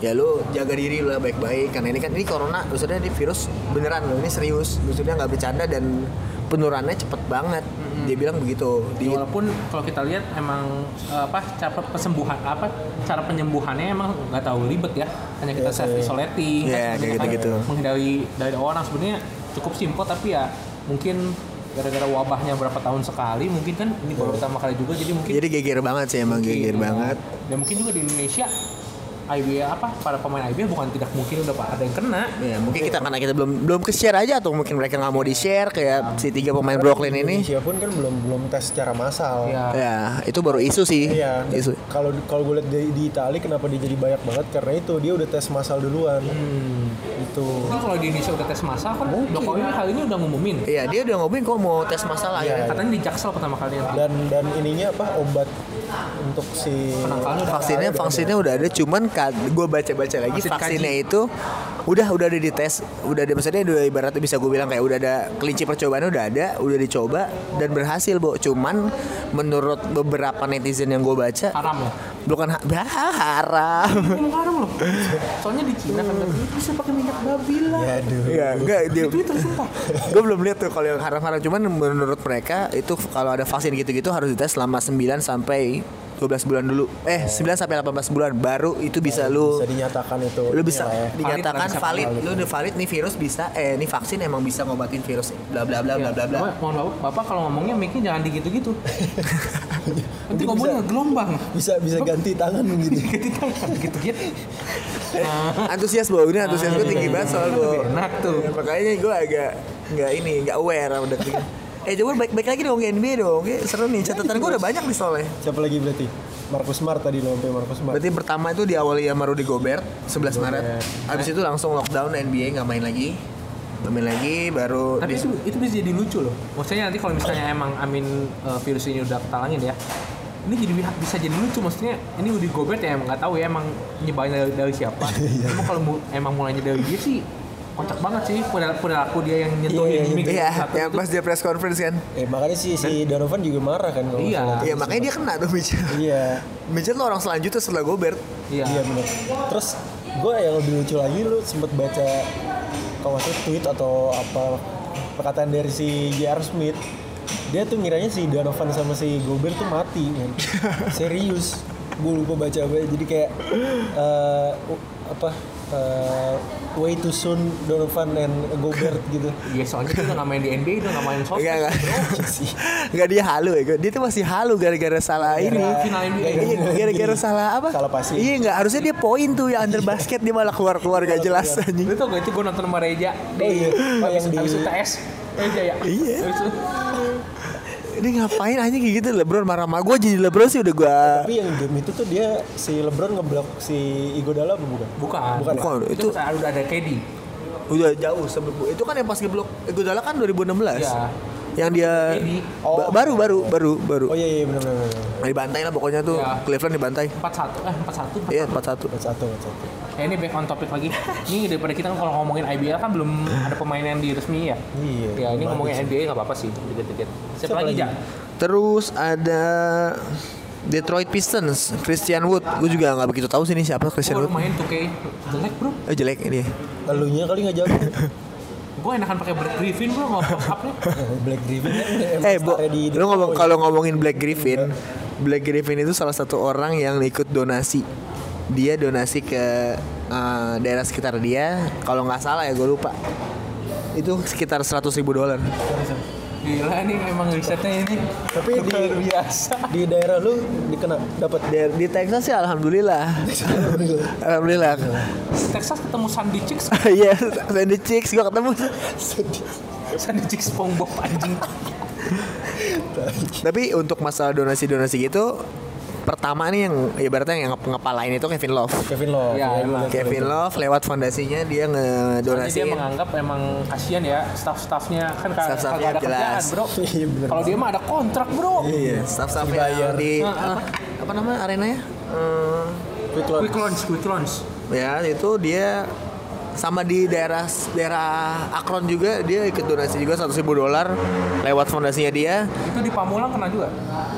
Speaker 1: ya lu jaga diri lu lah baik-baik karena ini kan ini corona maksudnya ini virus beneran loh ini serius maksudnya nggak bercanda dan penurannya cepet banget dia bilang begitu di
Speaker 3: walaupun kalau kita lihat emang eh, apa cara pesembuhan apa cara penyembuhannya emang nggak tahu ribet ya hanya kita self isolating kan,
Speaker 1: Iya, kayak gitu-gitu.
Speaker 3: menghindari dari orang sebenarnya cukup simpel tapi ya mungkin gara-gara wabahnya berapa tahun sekali mungkin kan ini baru pertama kali juga jadi mungkin
Speaker 1: jadi geger banget sih emang geger banget
Speaker 3: dan mungkin juga di Indonesia IBA apa para pemain IBA bukan tidak mungkin udah ada yang kena
Speaker 1: Ya, mungkin kita karena kita belum belum ke share aja atau mungkin mereka nggak mau di share kayak si tiga pemain Brooklyn ini.
Speaker 4: Indonesia pun kan belum belum tes secara massal.
Speaker 3: ya
Speaker 1: Ya, itu baru isu sih.
Speaker 4: Iya.
Speaker 1: Isu.
Speaker 4: Kalau kalau gue lihat di, di Itali kenapa dia jadi banyak banget karena itu dia udah tes massal duluan.
Speaker 3: Hmm.
Speaker 4: Gitu. Itu.
Speaker 3: Mungkin kalau di Indonesia udah tes massal kan Jokowi ini kali ini udah ngumumin
Speaker 1: Iya, dia udah ngomongin kok mau tes masalah ya.
Speaker 3: katanya di Jaksel pertama kali nanti
Speaker 4: Dan dan ininya apa obat untuk si
Speaker 3: Penangkalnya udah
Speaker 1: Vaksinnya vaksinnya udah ada cuman gue baca-baca lagi
Speaker 3: Iya, Vaksin
Speaker 1: vaksinnya
Speaker 3: kaji.
Speaker 1: itu udah udah ada di tes, udah ada maksudnya udah ibaratnya bisa gue bilang kayak udah ada kelinci percobaannya udah ada, udah dicoba dan berhasil, Bo. Cuman menurut beberapa netizen yang gue baca
Speaker 3: haram ya
Speaker 1: bukan ha- bah, haram.
Speaker 3: Minum garam loh. Soalnya di Cina kan
Speaker 1: Hmm.
Speaker 3: katanya, "Lu bisa pakai minyak babi lah.
Speaker 4: Aduh.
Speaker 1: Iya, enggak dia
Speaker 3: Twitter sumpah.
Speaker 1: gue belum lihat tuh kalau yang haram-haram cuman menurut mereka itu kalau ada vaksin gitu-gitu harus dites selama 9 sampai 12 bulan dulu eh 9 sampai 18 bulan baru itu bisa lu
Speaker 4: Bisa dinyatakan itu.
Speaker 1: lu bisa
Speaker 4: Iya, ya.
Speaker 1: dinyatakan
Speaker 3: Valid lah, bisa
Speaker 1: valid, lu udah valid nih virus bisa eh ini vaksin emang bisa ngobatin virus bla bla bla bla bla bla
Speaker 3: Bapak, mohon bapak, bapak kalau ngomongnya mic-nya jangan digitu-gitu. Nanti ngomongnya gelombang.
Speaker 4: Ah, bisa bisa ganti tangan gitu.
Speaker 3: Gitu kan, gitu-gitu.
Speaker 1: antusias bau ini antusias gue tinggi banget soal gue
Speaker 3: Enak tuh.
Speaker 1: makanya gue agak nggak ini nggak aware sama detik eh coba baik baik lagi dong NBA dong Oke, seru nih catatan gue udah banyak nih soalnya
Speaker 4: Siapa lagi berarti? Marcus Smart tadi lo sampai Marcus Smart.
Speaker 1: Berarti pertama itu diawali sama Rudy Gobert 11 Maret. Abis itu langsung lockdown NBA nggak main lagi. Nggak main lagi baru
Speaker 3: Tapi
Speaker 1: di-
Speaker 3: itu, itu bisa jadi lucu loh. Maksudnya nanti kalau misalnya emang amin eh, virus ini udah ketalangin ya. Ini jadi bi- bisa jadi lucu maksudnya ini udah gobert ya emang nggak tahu ya emang nyebarin dari, dari siapa.
Speaker 1: Iya.
Speaker 3: Cuma kalau mu- emang mulainya dari dia sih kocak banget sih perilaku dia yang nyentuhin
Speaker 4: Iya, iya,
Speaker 3: mic
Speaker 1: Iya,
Speaker 3: satu
Speaker 1: yang
Speaker 3: itu.
Speaker 1: pas dia press conference kan.
Speaker 4: Eh makanya si si Donovan juga marah kan kalau
Speaker 3: Iya.
Speaker 4: nggak salah.
Speaker 1: Iya, makanya dia kena tuh Mitchell.
Speaker 4: Iya.
Speaker 1: Mitchell tuh orang selanjutnya setelah Gobert.
Speaker 3: Iya.
Speaker 4: Iya benar. Terus gue yang lebih lucu lagi lu sempet baca kalau nggak salah tweet atau apa perkataan dari si J.R. Smith dia tuh ngiranya si Donovan sama si Gobert tuh mati kan serius gue lupa baca apa jadi kayak eh, apa eh, way too soon Donovan and Gobert gitu.
Speaker 3: Ya soalnya dia udah nggak main di NBA, udah nggak main sosmed.
Speaker 1: Enggak, enggak. Enggak Iya, dia halu ya. Dia tuh masih halu gara-gara salah ini.
Speaker 3: Final NBA.
Speaker 1: Iya, gara-gara salah apa?
Speaker 4: Salah passing.
Speaker 1: Iya, enggak. Harusnya dia poin tuh ya under basket dia malah keluar-keluar gak jelas anjing.
Speaker 3: Lu tau gak itu gue nonton sama Reja di
Speaker 4: Oh iya. Oh,
Speaker 3: habis,
Speaker 4: yang di-
Speaker 3: habis UTS. Reja ya.
Speaker 1: Iya.
Speaker 3: Habis itu
Speaker 1: Ini ngapain anjing kayak gitu LeBron marah-marah. Gue jadi LeBron sih udah gua
Speaker 4: Tapi yang game itu tuh dia si LeBron ngeblok si Iguodala apa bukan?
Speaker 3: bukan.
Speaker 4: Bukan.
Speaker 1: Bukan, itu
Speaker 3: Itu, saat udah ada KD.
Speaker 1: udah jauh sebelum itu kan yang pas ngeblok Iguodala kan 2016.
Speaker 3: Iya.
Speaker 1: Yang dia
Speaker 3: Ini. Oh.
Speaker 1: ba- baru baru baru baru.
Speaker 4: Oh iya iya benar benar. benar.
Speaker 1: Dibantai lah pokoknya tuh
Speaker 3: Iya.
Speaker 1: Cleveland dibantai.
Speaker 3: 41 eh 41
Speaker 1: Iya 4-1.
Speaker 4: Buat satu buat satu.
Speaker 3: Ya ini back on topic lagi. Ini daripada kita kan kalau ngomongin IBL kan belum ada pemain yang diresmi ya.
Speaker 4: Iya.
Speaker 3: Ya ini
Speaker 4: bagus.
Speaker 3: ngomongin NBA nggak apa-apa sih, dikit-dikit. Siapa, lagi, Ja?
Speaker 1: Terus ada Detroit Pistons, Christian Wood. Gue juga nggak begitu tahu sih ini siapa
Speaker 3: Gue
Speaker 1: Christian
Speaker 3: baru
Speaker 1: Wood.
Speaker 3: main 2K. Jelek bro.
Speaker 1: Oh, jelek ini.
Speaker 4: Elunya kali nggak jago.
Speaker 3: Gue enakan pakai Black Griffin bro, nggak apa upnya
Speaker 4: Black Griffin kan udah emang
Speaker 1: Eh, Bo,
Speaker 4: starnya di-
Speaker 1: lu ngomong kalau ngomongin Black Griffin, Black Griffin itu salah satu orang yang ikut donasi. Dia donasi ke eh, daerah sekitar dia, kalau nggak salah ya gue lupa. Itu sekitar 100 ribu dolar.
Speaker 3: Gila nih emang risetnya ini.
Speaker 4: ya. Tapi di
Speaker 3: luar biasa.
Speaker 4: di daerah lu dikena dapat
Speaker 1: Di, di Texas sih alhamdulillah. alhamdulillah.
Speaker 3: Texas ketemu Sandy Chicks,
Speaker 1: Iya, Sandy Chicks gue ketemu.
Speaker 3: Sandy Chicks SpongeBob anjing.
Speaker 1: Tapi untuk masalah donasi-donasi gitu, pertama nih yang ibaratnya yang nge- ngepalain itu Kevin Love.
Speaker 4: Kevin Love.
Speaker 3: Ya, emang.
Speaker 1: Kevin Love lewat fondasinya dia
Speaker 3: Jadi dia
Speaker 1: ngedonasiin
Speaker 3: menganggap emang kasihan ya staff-staffnya kan kagak
Speaker 1: Staff-staffnya
Speaker 3: kagak ada
Speaker 1: jelas.
Speaker 3: kerjaan bro.
Speaker 4: Iya benar.
Speaker 3: Kalau dia mah ada kontrak bro.
Speaker 1: Iya, staff staff yang di apa, apa namanya arenanya? Eh,
Speaker 4: Quick Love.
Speaker 3: Quick launch, quick launch.
Speaker 1: ya itu dia sama di daerah daerah Akron juga dia ikut donasi juga 100 ribu dolar lewat fondasinya dia.
Speaker 3: Itu di Pamulang kena juga.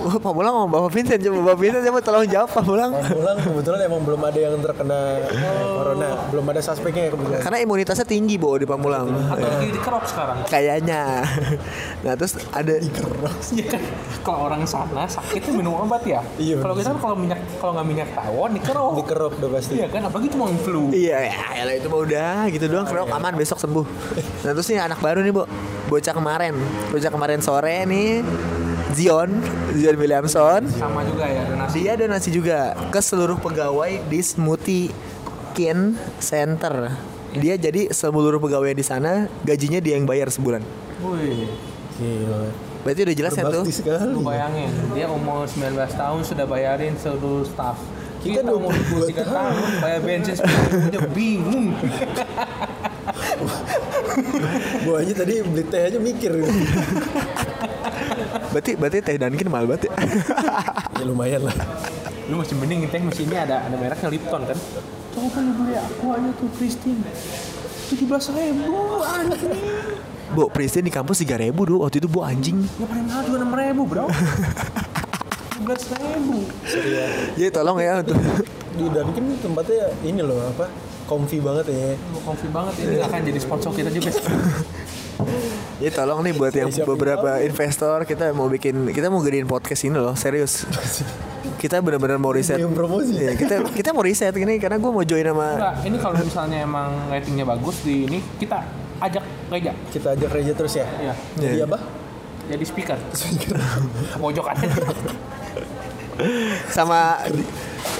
Speaker 1: Wah, Pak Mulang sama Bapak Vincent coba Bapak Vincent coba tolong jawab Pak Mulang.
Speaker 4: Pulang kebetulan emang belum ada yang terkena
Speaker 3: Oh.
Speaker 4: eh, corona, belum ada suspeknya ya kebetulan.
Speaker 1: Karena imunitasnya tinggi Bo di Pak Mulang.
Speaker 3: Atau lagi di kerop sekarang.
Speaker 1: Kayaknya. Nah, terus ada
Speaker 3: Iya kan? Kalau orang sana sakit tuh minum obat ya.
Speaker 4: Iya,
Speaker 3: Kalau kita kan kalau minyak kalau nggak minyak tawon di kerop.
Speaker 4: Dikerok udah pasti.
Speaker 3: Iya kan? Apalagi cuma flu.
Speaker 1: Iya, ya, elah, itu mah udah gitu doang. Kerok aman besok sembuh. Nah terus nih anak baru nih, Bu. Bocah kemarin. Bocah kemarin sore nih Zion, Zion Williamson.
Speaker 3: Sama juga ya donasi.
Speaker 1: Dia donasi juga ke seluruh pegawai di Smoothie Kin Center. Dia jadi seluruh pegawai di sana gajinya dia yang bayar sebulan.
Speaker 3: Wih,
Speaker 4: Gila.
Speaker 1: Berarti udah jelas ya tuh.
Speaker 4: Berbakti sekali.
Speaker 3: lu bayangin dia umur 19 tahun sudah bayarin seluruh staff. Kita,
Speaker 4: Kita
Speaker 3: umur 23 tahun bayar bensin sepuluh aja bingung.
Speaker 4: Gua aja tadi beli teh aja mikir.
Speaker 1: Berarti berarti teh Dunkin mahal banget ya.
Speaker 4: ya lumayan lah.
Speaker 3: Lu masih mending teh masih ini ada ada mereknya Lipton kan. Coba lu beli aku aja tuh Christine. 17 ribu anjing.
Speaker 1: Bu, presiden di kampus 3000 dulu. Waktu itu bu anjing.
Speaker 3: Ya paling mahal juga 6 ribu bro. 17 ribu.
Speaker 1: Jadi tolong ya untuk
Speaker 4: Di Dunkin tempatnya ini loh apa? Comfy banget ya.
Speaker 3: Lu comfy banget ini nggak akan jadi sponsor kita juga sih.
Speaker 1: Ya tolong nih buat yang
Speaker 4: Siapin
Speaker 1: beberapa investor kita mau bikin kita mau gedein podcast ini loh serius. Kita benar-benar mau riset.
Speaker 4: Yang promosi.
Speaker 1: Iya, kita kita mau riset ini karena gue mau join sama
Speaker 3: Enggak, ini kalau misalnya emang ratingnya bagus di ini kita ajak Reja
Speaker 4: Kita ajak Reja terus ya.
Speaker 3: ya
Speaker 4: Jadi
Speaker 1: Iya.
Speaker 4: apa?
Speaker 3: jadi speaker pojokan
Speaker 1: sama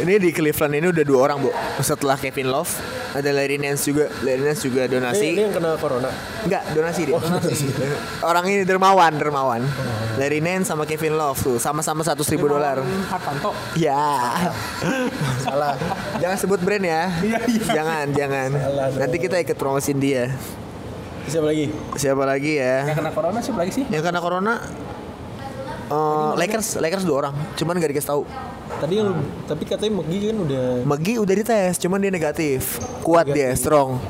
Speaker 1: ini di Cleveland ini udah dua orang bu. Setelah Kevin Love ada Larry Nance juga Larry Nance juga
Speaker 4: Ini, ini
Speaker 1: donasi.
Speaker 4: yang kena corona.
Speaker 1: Enggak donasi dia. Orang ini dermawan dermawan. Larry Nance sama Kevin Love tuh sama-sama 100 ribu dolar.
Speaker 3: Hartanto
Speaker 1: Ya.
Speaker 4: Salah.
Speaker 1: Jangan sebut brand ya. Jangan, jangan.
Speaker 4: Iya, Salah dong.
Speaker 1: Nanti kita ikut promosiin dia.
Speaker 4: Siapa lagi?
Speaker 1: Siapa lagi
Speaker 3: yang
Speaker 1: ya?
Speaker 3: kena corona siapa lagi sih
Speaker 1: Yang karena corona eh, Lakers, Lakers dua orang. Cuman gak dikasih tahu.
Speaker 4: Tadi yang lu- tapi katanya McGee kan udah
Speaker 1: Megi udah dites, cuman dia negatif. Kuat dia, strong.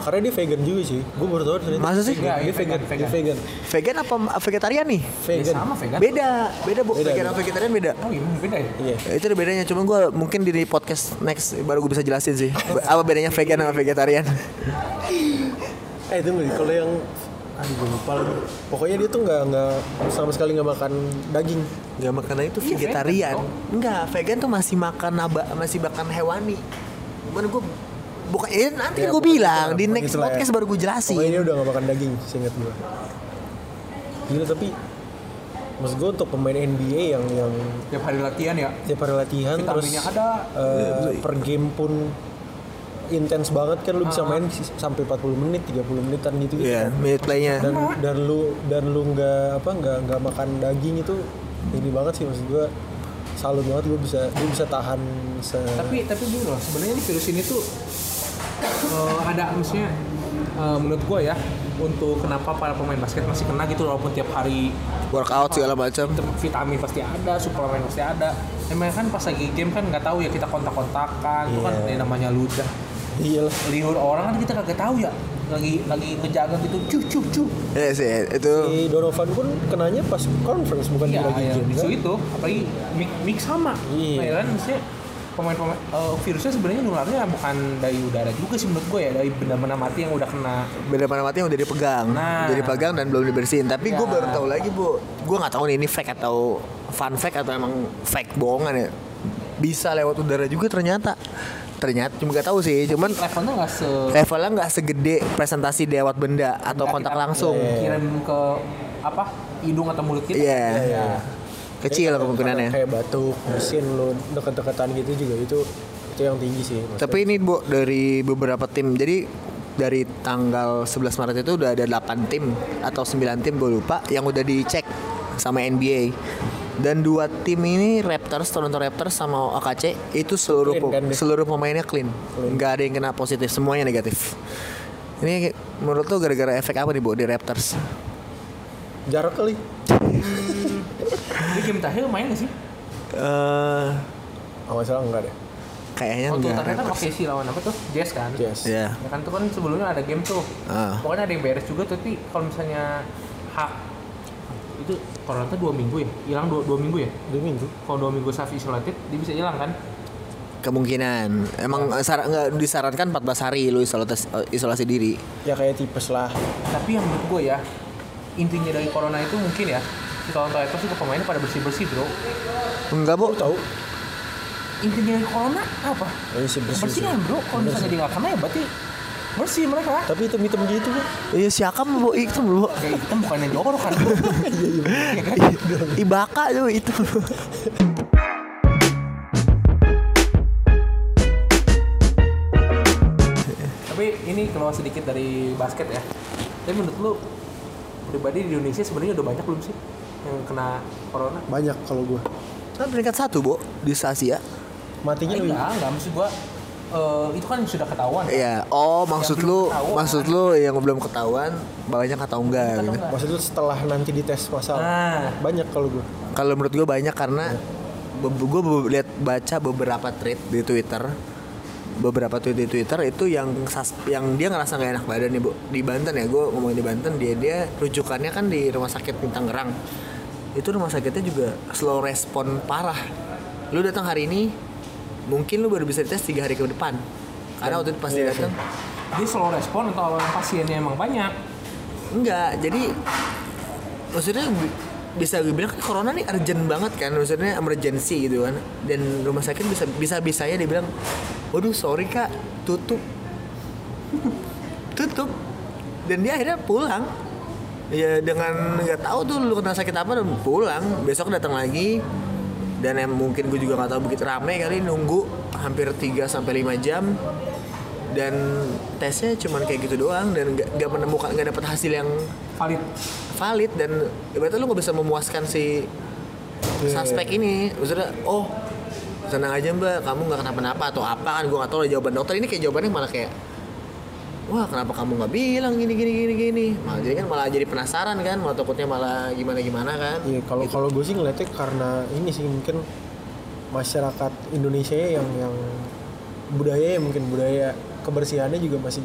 Speaker 4: karena dia vegan juga sih. Gua baru tahu ternyata.
Speaker 1: Masa sih?
Speaker 3: Enggak,
Speaker 4: Dia vegan, dia vegan.
Speaker 1: Vegan apa vegetarian nih?
Speaker 3: Ya,
Speaker 4: Vegan.
Speaker 3: sama vegan
Speaker 1: Beda, beda bu.
Speaker 4: Kan? Beda,
Speaker 1: Vegan
Speaker 4: beda.
Speaker 1: sama vegetarian beda. Eh,
Speaker 3: oh iya beda ya
Speaker 4: Iya.
Speaker 1: Itu ada bedanya, cuman gue mungkin di podcast next baru gue bisa jelasin sih Apa bedanya vegan sama vegetarian
Speaker 4: Eh tunggu deh, kalau yang aduh gue lupa lagi. Pokoknya dia tuh nggak nggak sama sekali nggak makan daging.
Speaker 1: Gak makanan itu
Speaker 3: Iya,
Speaker 1: vegetarian
Speaker 3: vegan,
Speaker 1: Enggak, vegan tuh masih makan naba, masih makan hewani Cuman gue bukan eh, nanti
Speaker 4: Ya,
Speaker 1: gue
Speaker 4: pokoknya
Speaker 1: bilang
Speaker 4: itu,
Speaker 1: di
Speaker 4: pokoknya
Speaker 1: next
Speaker 4: itulah ya.
Speaker 1: podcast baru gue jelasin
Speaker 4: Pokoknya dia udah gak makan daging, seingat gue. Gila tapi Maksud gue untuk pemain NBA yang yang
Speaker 3: tiap hari latihan ya
Speaker 4: tiap hari latihan terus
Speaker 3: Vitaminnya ada.
Speaker 4: eh, per game pun intens banget kan lu bisa
Speaker 3: Ah.
Speaker 4: main s- sampai 40 menit 30 menitan gitu gitu
Speaker 1: Iya, minute playnya
Speaker 4: dan dan lu dan lu nggak apa nggak nggak makan daging itu ini banget sih maksud gue salut banget gue bisa gue bisa tahan se
Speaker 3: tapi tapi gini loh sebenarnya ini virus ini tuh eh, ada maksudnya eh, menurut gue ya untuk kenapa para pemain basket masih kena gitu walaupun tiap hari
Speaker 1: workout segala macam
Speaker 3: tem- vitamin pasti ada suplemen pasti ada emang kan pas lagi game kan nggak tahu ya kita kontak-kontakan itu kan yang namanya ludah
Speaker 4: iyalah
Speaker 3: liur orang kan kita kagak tahu ya lagi lagi ngejaga gitu cuh cuh cuh
Speaker 1: Iya sih itu
Speaker 4: si Donovan pun kenanya pas conference bukan di
Speaker 3: iya
Speaker 4: lagi
Speaker 3: ya,
Speaker 4: game
Speaker 3: itu
Speaker 4: kan?
Speaker 3: itu apalagi mix, mix sama
Speaker 4: Iya.
Speaker 3: nah, ya kan maksudnya pemain-pemain eh, virusnya sebenarnya nularnya bukan dari udara juga sih menurut gue ya dari benda-benda mati yang udah kena
Speaker 1: beda pada mati yang udah dipegang
Speaker 3: Nah.
Speaker 1: udah dipegang dan belum dibersihin tapi gue
Speaker 3: Ya.
Speaker 1: baru tahu lagi bu gue nggak tahu nih ini fake atau fun fact atau emang fake bohongan ya bisa lewat udara juga ternyata ternyata cuma nggak tahu sih cuman
Speaker 3: levelnya nggak se
Speaker 1: levelnya nggak segede presentasi lewat benda atau
Speaker 3: nggak
Speaker 1: kontak
Speaker 3: kita
Speaker 1: langsung
Speaker 3: Iya. kirim ke apa hidung atau mulut kita
Speaker 1: Iya.
Speaker 4: Iya.
Speaker 1: kecil
Speaker 4: Jadi,
Speaker 1: kemungkinannya
Speaker 4: kayak batuk mesin lu deket-deketan gitu juga itu itu yang tinggi sih maksudnya.
Speaker 1: Tapi ini Bu dari beberapa tim. Jadi dari tanggal 11 Maret itu udah ada 8 tim atau 9 tim gue lupa yang udah dicek sama NBA. Dan dua tim ini Raptors, Toronto Raptors sama OKC itu seluruh
Speaker 4: Clean
Speaker 1: pe-
Speaker 4: kan dia?
Speaker 1: seluruh pemainnya clean. nggak ada yang kena positif, semuanya negatif. Ini menurut lo gara-gara efek apa nih Bu di Raptors?
Speaker 4: jarak kali
Speaker 3: Ini game terakhir main nggak sih
Speaker 1: Eh
Speaker 4: Oh, nggak salah enggak deh.
Speaker 1: kayaknya Ya,
Speaker 3: waktu
Speaker 1: enggak.
Speaker 3: terakhir kan oke sih lawan apa tuh Jazz kan
Speaker 4: Yes.
Speaker 1: Ya.
Speaker 3: ya kan tuh kan sebelumnya ada game tuh
Speaker 1: Ah.
Speaker 3: pokoknya ada yang beres juga tuh, tapi kalau misalnya hak itu Toronto dua minggu ya hilang dua, dua minggu ya
Speaker 4: Dua minggu.
Speaker 3: kalau dua minggu self isolated dia bisa hilang kan
Speaker 1: Kemungkinan. Emang eh, sar- nggak disarankan 14 hari lu isolasi, isolasi diri.
Speaker 4: Ya kayak tipes lah.
Speaker 3: tapi yang menurut gue ya intinya dari corona itu mungkin ya di Toronto Raptors juga pemainnya pada bersih bersih bro
Speaker 1: Enggak, Bu.
Speaker 4: Lu tahu?
Speaker 3: intinya dari corona apa
Speaker 4: Ya, sih, bersih,
Speaker 3: bersihan
Speaker 4: sih.
Speaker 3: bro kalau misalnya dia nggak kena ya berarti bersih mereka
Speaker 4: Tapi hitam-hitam gitu kan.
Speaker 1: Iya siakam bu itu bu
Speaker 3: ya kita bukannya jorok kan
Speaker 4: iya,
Speaker 3: Iya kan?
Speaker 1: Ibaka tuh itu
Speaker 3: tapi ini keluar sedikit dari basket ya tapi menurut lu pribadi di Indonesia sebenarnya udah banyak belum sih yang kena corona
Speaker 4: Banyak kalau gua.
Speaker 1: Kan peringkat satu bu di Asia
Speaker 4: Matinya
Speaker 3: Eh,
Speaker 4: lebih.
Speaker 3: enggak enggak maksud gua eh, itu kan sudah ketahuan kan?
Speaker 1: Iya Oh maksud
Speaker 3: Yang belum
Speaker 1: lu
Speaker 3: ketahuan.
Speaker 1: Maksud lu yang belum ketahuan Banyak atau enggak gitu
Speaker 3: enggak?
Speaker 4: Maksud lu setelah nanti dites masal.
Speaker 3: Nah.
Speaker 4: Banyak kalau gua.
Speaker 1: Kalau menurut gue banyak karena Gue lihat baca beberapa tweet di Twitter beberapa tweet di Twitter itu yang sus- yang dia ngerasa nggak enak badan nih bu di Banten ya gue ngomongin di Banten dia dia rujukannya kan di rumah sakit di Tangerang itu rumah sakitnya juga slow respon parah lu datang hari ini mungkin lu baru bisa dites tiga hari ke depan karena waktu itu pas dia datang
Speaker 3: dia slow respon atau orang pasiennya emang banyak
Speaker 1: Enggak, jadi maksudnya bi- bisa dibilang kan corona nih urgent banget kan, maksudnya emergency gitu kan. Dan rumah sakit bisa bisa bisanya dibilang, waduh sorry kak, tutup, tutup. Dan dia akhirnya pulang. Ya dengan nggak tahu tuh lu kena sakit apa dan pulang. Besok datang lagi dan em, mungkin gue juga nggak tahu begitu rame kali nunggu hampir 3 sampai 5 jam dan tesnya cuman kayak gitu doang dan nggak nggak menemukan nggak dapat hasil yang
Speaker 3: valid
Speaker 1: valid dan ibaratnya lu nggak bisa memuaskan si
Speaker 4: Iya,
Speaker 1: suspek ini maksudnya oh tenang aja mbak kamu nggak kenapa-napa atau apa kan gue nggak tahu lah jawaban dokter ini kayak jawabannya malah kayak wah kenapa kamu nggak bilang gini gini gini gini malah jadi kan malah jadi penasaran kan malah takutnya malah gimana gimana kan
Speaker 4: Iya, kalau kalau gua sih ngeliatnya karena ini sih mungkin masyarakat Indonesia yang yang budaya ya mungkin budaya kebersihannya juga masih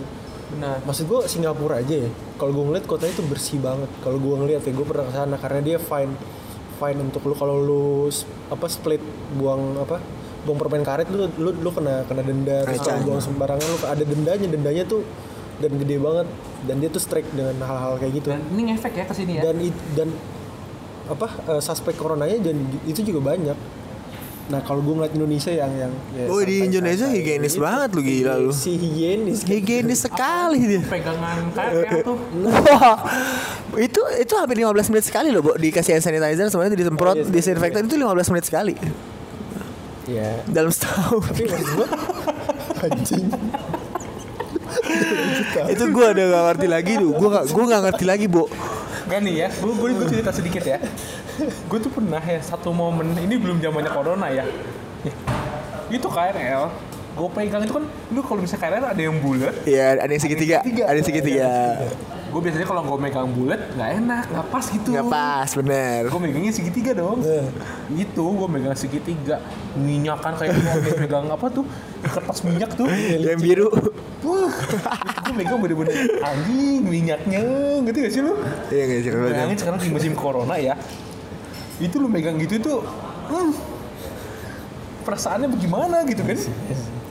Speaker 3: benar
Speaker 4: maksud gua Singapura aja ya kalau gua ngeliat kotanya itu bersih banget kalau gua ngeliat ya gua pernah kesana karena dia fine fine untuk lu kalau lu s- apa split buang apa buang permen karet lu lu, lu kena kena denda terus kalau buang sembarangan lu ada dendanya dendanya tuh dan gede banget dan dia tuh strike dengan hal-hal kayak gitu
Speaker 3: dan ini ngefek ya ke sini ya
Speaker 4: dan it- dan apa eh, suspek coronanya dan itu juga banyak Nah kalau gue ngeliat Indonesia yang yang ya,
Speaker 1: Oh, di
Speaker 4: santai-santai
Speaker 1: Indonesia higienis
Speaker 4: gitu.
Speaker 1: banget lu, gila lu.
Speaker 4: Si higienis. kan.
Speaker 1: Higienis sekali dia.
Speaker 3: pegangan kayak tuh
Speaker 1: Wah, itu itu hampir 15 menit sekali loh, Bo. Dikasih hand sanitizer sebenarnya disemprot,
Speaker 4: Oh, iya,
Speaker 1: disinfektan itu 15 menit sekali
Speaker 3: Iya.
Speaker 4: Ya.
Speaker 1: dalam setahun.
Speaker 4: Tapi maksud gue anjing.
Speaker 1: itu gua udah gak ngerti lagi tuh. Gua gak, gua gak ngerti lagi, Bo.
Speaker 3: Gak nih ya, gue gue gue cerita sedikit ya. Gue tuh pernah ya satu momen ini belum zamannya corona ya. Ya, Itu KRL, gue pegang itu kan, lu kalau misalnya KRL ada yang bulat.
Speaker 1: Ya, ada yang segitiga,
Speaker 3: segitiga.
Speaker 1: ada yang segitiga.
Speaker 3: Gue biasanya kalau gue megang bulat nggak enak, nggak pas gitu.
Speaker 1: Gak pas, bener.
Speaker 3: Gue megangnya segitiga dong. Itu gue megang segitiga, minyakan kayak gua habis megang apa tuh kertas minyak tuh.
Speaker 1: Yang biru.
Speaker 3: Wah, gue megang bener-bener anjing minyaknya, ngerti gak sih lu?
Speaker 1: Iya gak sih? kalau dia-
Speaker 3: Bayangin sekarang di musim corona ya. Itu lu megang gitu itu hmm, perasaannya bagaimana gitu kan?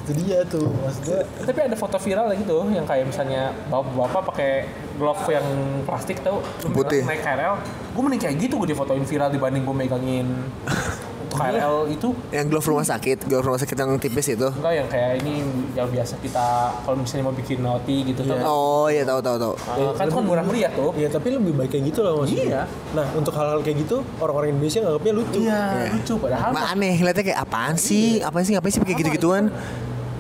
Speaker 4: Itu dia tuh maksud gue.
Speaker 3: Tapi ada foto viral ya gitu yang kayak misalnya bapak-bapak pakai glove yang plastik tau lu megang
Speaker 1: Putih.
Speaker 3: naik KRL. Gue mending kayak gitu gue difotoin viral dibanding gue megangin untuk KRL itu
Speaker 1: Yang glove rumah sakit, glove rumah sakit yang tipis itu.
Speaker 3: enggak yang kayak ini yang biasa kita kalau misalnya mau bikin noti gitu tau.
Speaker 1: Oh iya tahu tahu tahu.
Speaker 3: Ah, kan itu kan murah meriah tuh.
Speaker 4: Ya tapi lebih baik kayak gitu lah maksudnya.
Speaker 3: Iya.
Speaker 4: Nah untuk hal-hal kayak gitu orang-orang Indonesia nganggapnya lucu.
Speaker 3: Iya, lucu padahal
Speaker 1: Mak aneh, liatnya kayak apaan sih? Apaan sih? Ngapain sih pakai gitu-gituan?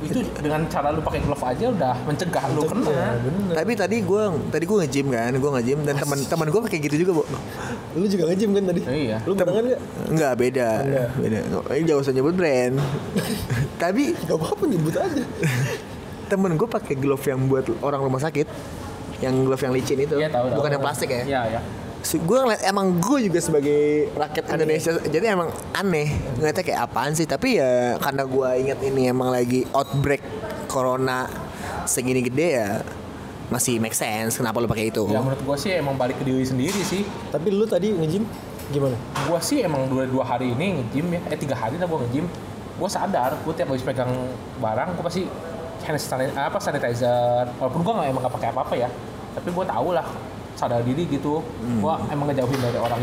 Speaker 3: itu dengan cara lu pakai glove aja udah mencegah lu kena.
Speaker 1: Tapi tadi gue tadi gue nge-gym kan, gue nge-gym dan teman-teman gue pakai gitu juga, Bu.
Speaker 4: Lu juga nge-gym kan tadi?
Speaker 3: Iya.
Speaker 4: Lu barengan nggak?
Speaker 1: Enggak, beda. Beda. Ini jauh usah nyebut brand. Tapi
Speaker 4: Gak apa-apa nyebut aja.
Speaker 1: temen gue pakai glove yang buat orang rumah sakit. Yang glove yang licin itu.
Speaker 3: Iya tahu. tahu.
Speaker 1: Bukan yang plastik ya.
Speaker 3: Iya ya.
Speaker 1: gue ngeliat emang gue juga sebagai rakyat Indonesia jadi emang aneh ngeliatnya kayak apaan sih tapi ya karena gue ingat ini emang lagi outbreak corona segini gede ya masih make sense kenapa lo pakai itu
Speaker 3: Ya menurut gua sih emang balik ke diri sendiri sih.
Speaker 4: Tapi lu tadi nge-gym gimana?
Speaker 3: Gua sih emang dua dua hari ini nge-gym ya. Eh tiga hari lah gua nge-gym. Gua sadar, gua tiap habis pegang barang, gua pasti hand sanitizer, apa sanitizer. Walaupun gua nggak emang nggak pakai apa apa ya. Tapi gua tau lah sadar diri gitu. Gua emang ngejauhin dari orang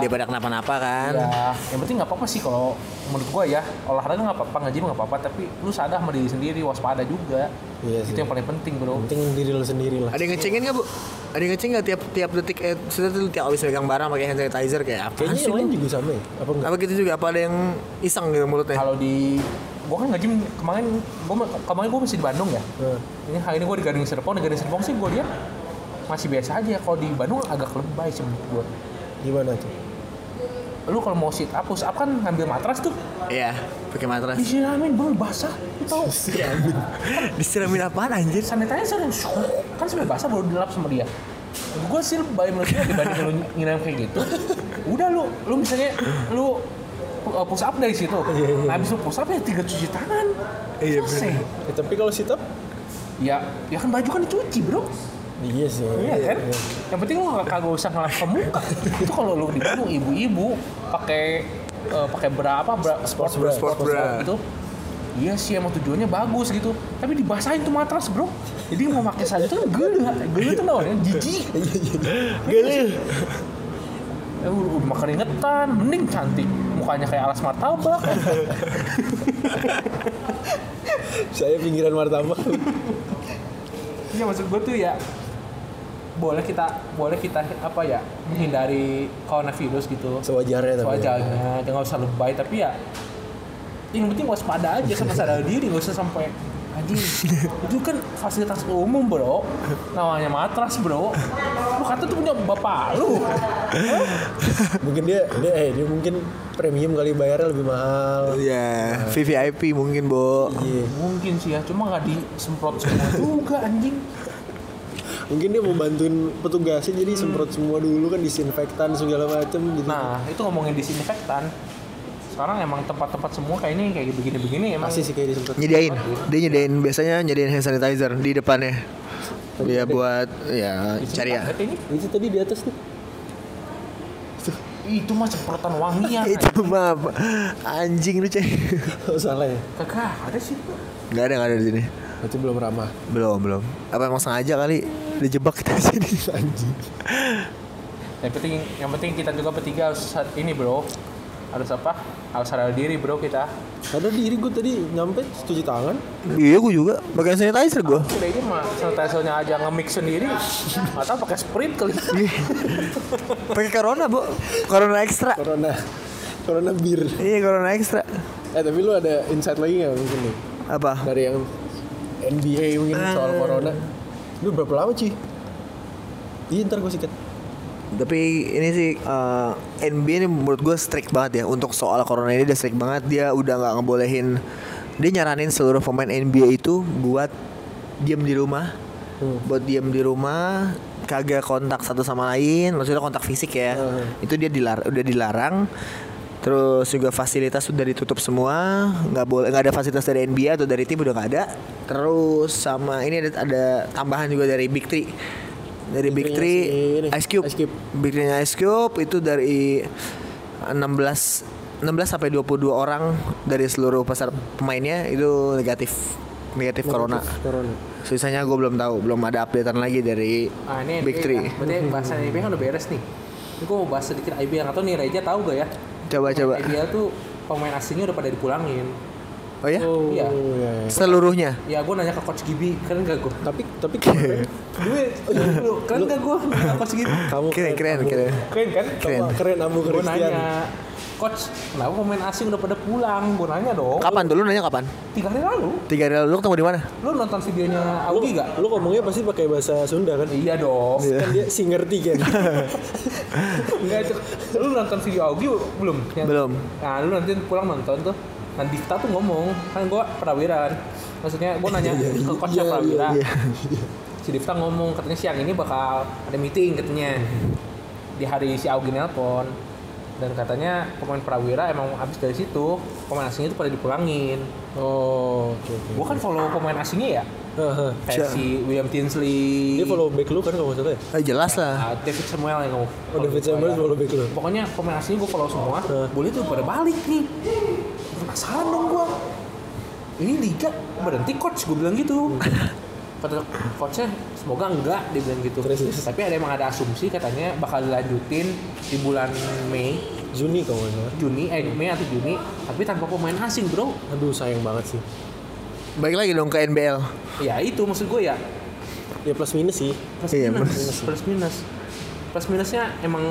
Speaker 1: Ya, daripada kenapa-napa kan
Speaker 3: Ya, yang penting nggak apa-apa sih kalau menurut gua ya olahraga nggak apa-apa ngaji nggak apa-apa tapi lu sadar sama diri sendiri waspada juga
Speaker 4: Iya
Speaker 3: itu
Speaker 4: sih.
Speaker 3: yang paling penting bro
Speaker 4: Penting diri lu sendiri lah.
Speaker 1: ada yang ngecengin nggak bu ada yang ngecengin nggak tiap tiap detik eh sudah tuh tiap abis pegang barang pakai hand sanitizer kayak apa
Speaker 4: Kayaknya
Speaker 1: sih
Speaker 4: yang lain
Speaker 1: lo
Speaker 4: juga sama ya? Apa enggak?
Speaker 1: apa gitu juga apa ada yang iseng gitu mulutnya
Speaker 3: kalau di gua kan ngaji kemarin gua kemarin gua masih di Bandung ya
Speaker 4: Nah,
Speaker 3: ini hari ini gue di Gading Serpong di Gading Serpong sih gue lihat masih biasa aja kalau di Bandung agak lebay sih menurut gue
Speaker 4: gimana tuh?
Speaker 3: lu kalau mau sit up push up kan ngambil matras tuh
Speaker 1: Iya pakai matras
Speaker 3: disiramin bro basah lu tau
Speaker 1: Iya. disiramin apaan anjir
Speaker 3: sanitizer yang syuk, kan sebenarnya basah baru dilap sama dia gue sih lebay menurut gue dibanding lu nyiram kayak gitu udah lu lu misalnya lu uh, push up dari situ nah, habis lu push up ya tiga cuci tangan
Speaker 1: Iya,
Speaker 3: selesai
Speaker 4: Ya, tapi kalau sit up
Speaker 3: ya ya kan baju kan dicuci bro
Speaker 4: Iya sih.
Speaker 3: Iya kan? Yang penting lu nggak kagak usah ngelap ke muka. Itu kalau lu di Bandung ibu-ibu pakai eh, pakai bra apa bra sport
Speaker 4: bra.
Speaker 1: Sport bra.
Speaker 3: gitu. Iya sih emang tujuannya bagus gitu. Tapi dibasahin tuh matras, Bro. Jadi mau pakai saja tuh gele. Gele tuh lawannya jijik.
Speaker 1: Geli.
Speaker 3: Eh, udah, udah makan ingetan, mending cantik. Mukanya kayak alas martabak.
Speaker 4: Saya pinggiran martabak.
Speaker 3: Iya maksud gue tuh ya boleh kita boleh kita apa ya menghindari coronavirus gitu.
Speaker 4: Sewajarnya tapi. ya.
Speaker 3: wajarnya jangan usah lebay tapi ya yang penting waspada aja sama sadar diri nggak usah sampai anjing itu kan fasilitas umum bro namanya matras bro lu kata tuh punya bapak lu
Speaker 4: Mungkin dia, dia, eh, dia mungkin premium kali bayarnya lebih mahal.
Speaker 1: Ya, VVIP mungkin, Bo.
Speaker 4: Iya.
Speaker 3: mungkin sih ya cuma nggak disemprot semua juga anjing
Speaker 4: Mungkin dia mau bantuin petugasnya jadi semprot semua dulu kan disinfektan segala macem gitu.
Speaker 3: nah itu ngomongin disinfektan sekarang emang tempat-tempat semua kayak ini kayak begini-begini emang
Speaker 4: Masih sih kayak disemprot.
Speaker 1: Nyediain. Dia nyediain biasanya nyediain hand sanitizer di depannya. Dia buat ya cari ya.
Speaker 3: Disinfektan ini
Speaker 4: Itu tadi di atas tuh.
Speaker 3: itu mah semprotan wangian
Speaker 1: Iya, Itu mah apa? anjing lu, Cek.
Speaker 4: Oh, salah ya.
Speaker 3: kagak ada sih bro.
Speaker 1: Enggak ada, enggak ada di sini.
Speaker 4: Berarti belum ramah.
Speaker 1: Belum, belum. Apa emang sengaja kali dijebak kita di sini?
Speaker 4: Anjing.
Speaker 3: Yang penting yang penting kita juga bertiga harus saat ini bro harus apa harus sadar diri bro kita
Speaker 4: Ada diri gue tadi nyampe cuci tangan.
Speaker 1: Iya gue juga pakai sanitizer gue.
Speaker 3: udah ini mah sanitizer-nya aja nge-mix sendiri atau pakai sprint kali
Speaker 1: Iya. Pakai corona bu, corona ekstra.
Speaker 4: Corona. Corona bir.
Speaker 1: Iya corona ekstra.
Speaker 4: Eh tapi lu ada insight lagi nggak mungkin nih?
Speaker 1: Apa?
Speaker 4: Dari yang NBA mungkin soal corona. Lu berapa lama sih? Iya ntar gue sikat.
Speaker 1: Tapi ini sih eh, NBA ini menurut gue strict banget ya untuk soal corona ini dia strict banget dia udah nggak ngebolehin dia nyaranin seluruh pemain NBA itu buat diam di rumah, buat diam di rumah kagak kontak satu sama lain maksudnya kontak fisik ya itu dia dilar udah dilarang terus juga fasilitas sudah ditutup semua nggak boleh nggak ada fasilitas dari NBA atau dari tim udah nggak ada terus sama ini ada, ada tambahan juga dari Big Three dari Big
Speaker 4: Big
Speaker 1: Three
Speaker 4: Three ini,
Speaker 1: Ice Cube.
Speaker 4: Ice Cube.
Speaker 1: Big Three-nya Ice Cube itu dari 16 16 sampai 22 orang dari seluruh pasar pemainnya itu negatif negatif corona.
Speaker 4: Corona.
Speaker 1: Sisanya gue belum tahu, belum ada updatean lagi dari
Speaker 3: ah ini
Speaker 1: Big
Speaker 3: NBA,
Speaker 1: Three.
Speaker 3: berarti bahasan NBA kan udah beres nih ini gue mau bahas sedikit IBL atau nih Reja tahu gak ya
Speaker 1: Coba coba.
Speaker 3: IBL tuh pemain aslinya udah pada dipulangin
Speaker 1: Oh ya?
Speaker 3: iya
Speaker 4: Oh, iya, iya.
Speaker 1: Seluruhnya.
Speaker 3: ya gue nanya ke coach Gibi keren gak gue
Speaker 4: Tapi tapi kan- keren.
Speaker 3: gue lu keren gak gue nanya coach Gibi
Speaker 4: kamu
Speaker 1: Keren keren keren.
Speaker 4: keren kan?
Speaker 1: Keren.
Speaker 4: Kamu keren Abu
Speaker 3: gue
Speaker 4: Christian.
Speaker 3: nanya coach kenapa pemain asing udah pada pulang gue nanya dong
Speaker 1: Kapan dulu nanya kapan?
Speaker 3: tiga hari lalu
Speaker 1: Tiga hari lalu lu ketemu di mana?
Speaker 3: lu nonton videonya
Speaker 4: Lu,
Speaker 3: Augie gak
Speaker 4: lu ngomongnya pasti pakai bahasa Sunda kan?
Speaker 3: iya dong
Speaker 4: Kan dia singer tiga.
Speaker 3: Enggak itu. Lu nonton video Augie belum? Yang-
Speaker 1: Belum.
Speaker 3: Nah, lu nanti pulang nonton tuh. Nah, Difta tuh ngomong, kan gua prawira kan. Maksudnya gua nanya ke coachnya
Speaker 4: iya,
Speaker 3: prawira. Si Difta ngomong katanya siang ini bakal ada meeting katanya. Di hari si Augie nelpon. Dan katanya pemain prawira emang abis dari situ pemain asingnya itu pada dipulangin.
Speaker 4: oh, oke oke.
Speaker 3: Gua kan follow pemain asingnya ya.
Speaker 4: Haha.
Speaker 1: Siap.
Speaker 3: Kayak si William Tinsley.
Speaker 4: Dia follow back lu kan kalau nggak salah ya?
Speaker 1: Eh, jelas lah.
Speaker 3: Ah, David Samuel yang ngomong.
Speaker 4: Oh, David Samuel follow back lu.
Speaker 3: pokoknya pemain aslinya gue follow semua
Speaker 4: Hah.
Speaker 3: boleh tuh pada balik nih penasaran dong gue ini liga berhenti coach gue bilang gitu kata coachnya semoga enggak dia bilang gitu
Speaker 4: Hmm. Terus, terus.
Speaker 3: tapi ada emang ada asumsi katanya bakal dilanjutin di bulan Mei
Speaker 4: Juni kalau nggak salah.
Speaker 3: Juni eh Mei atau Juni tapi tanpa pemain asing bro
Speaker 4: Aduh sayang banget sih.
Speaker 1: Baik lagi dong ke NBL.
Speaker 3: ya itu maksud gue ya
Speaker 4: Ya plus minus sih.
Speaker 3: plus
Speaker 1: Iya,
Speaker 3: minus plus minus plus minusnya emang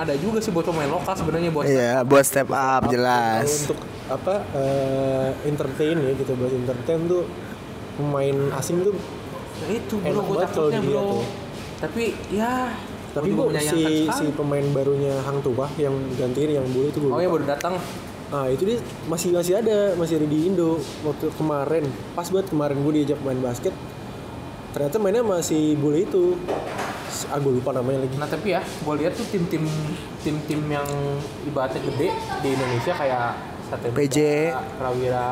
Speaker 3: ada juga sih buat pemain lokal sebenarnya buat
Speaker 1: Iya, buat step up
Speaker 4: Kalau
Speaker 1: jelas.
Speaker 4: Untuk apa eh, entertain ya gitu buat entertain tuh pemain asing tuh
Speaker 3: Nah, itu bro gue
Speaker 4: Enak banget
Speaker 3: takutnya
Speaker 4: kalau dia
Speaker 3: bro
Speaker 4: tuh.
Speaker 3: tapi ya gua
Speaker 4: tapi
Speaker 3: juga
Speaker 4: gua
Speaker 3: menyayangkan
Speaker 4: si si
Speaker 3: sekali.
Speaker 4: pemain barunya Hang Tua yang gantiin yang bulu itu gue.
Speaker 3: oh ya baru datang
Speaker 4: Nah itu dia masih masih ada masih ada di Indo waktu kemarin pas buat kemarin gue diajak main basket ternyata mainnya masih bule itu ah gue lupa namanya lagi
Speaker 3: nah tapi ya gue lihat tuh tim-tim tim-tim yang ibaratnya gede di Indonesia kayak Satria
Speaker 1: PJ.
Speaker 3: Muda, Prawira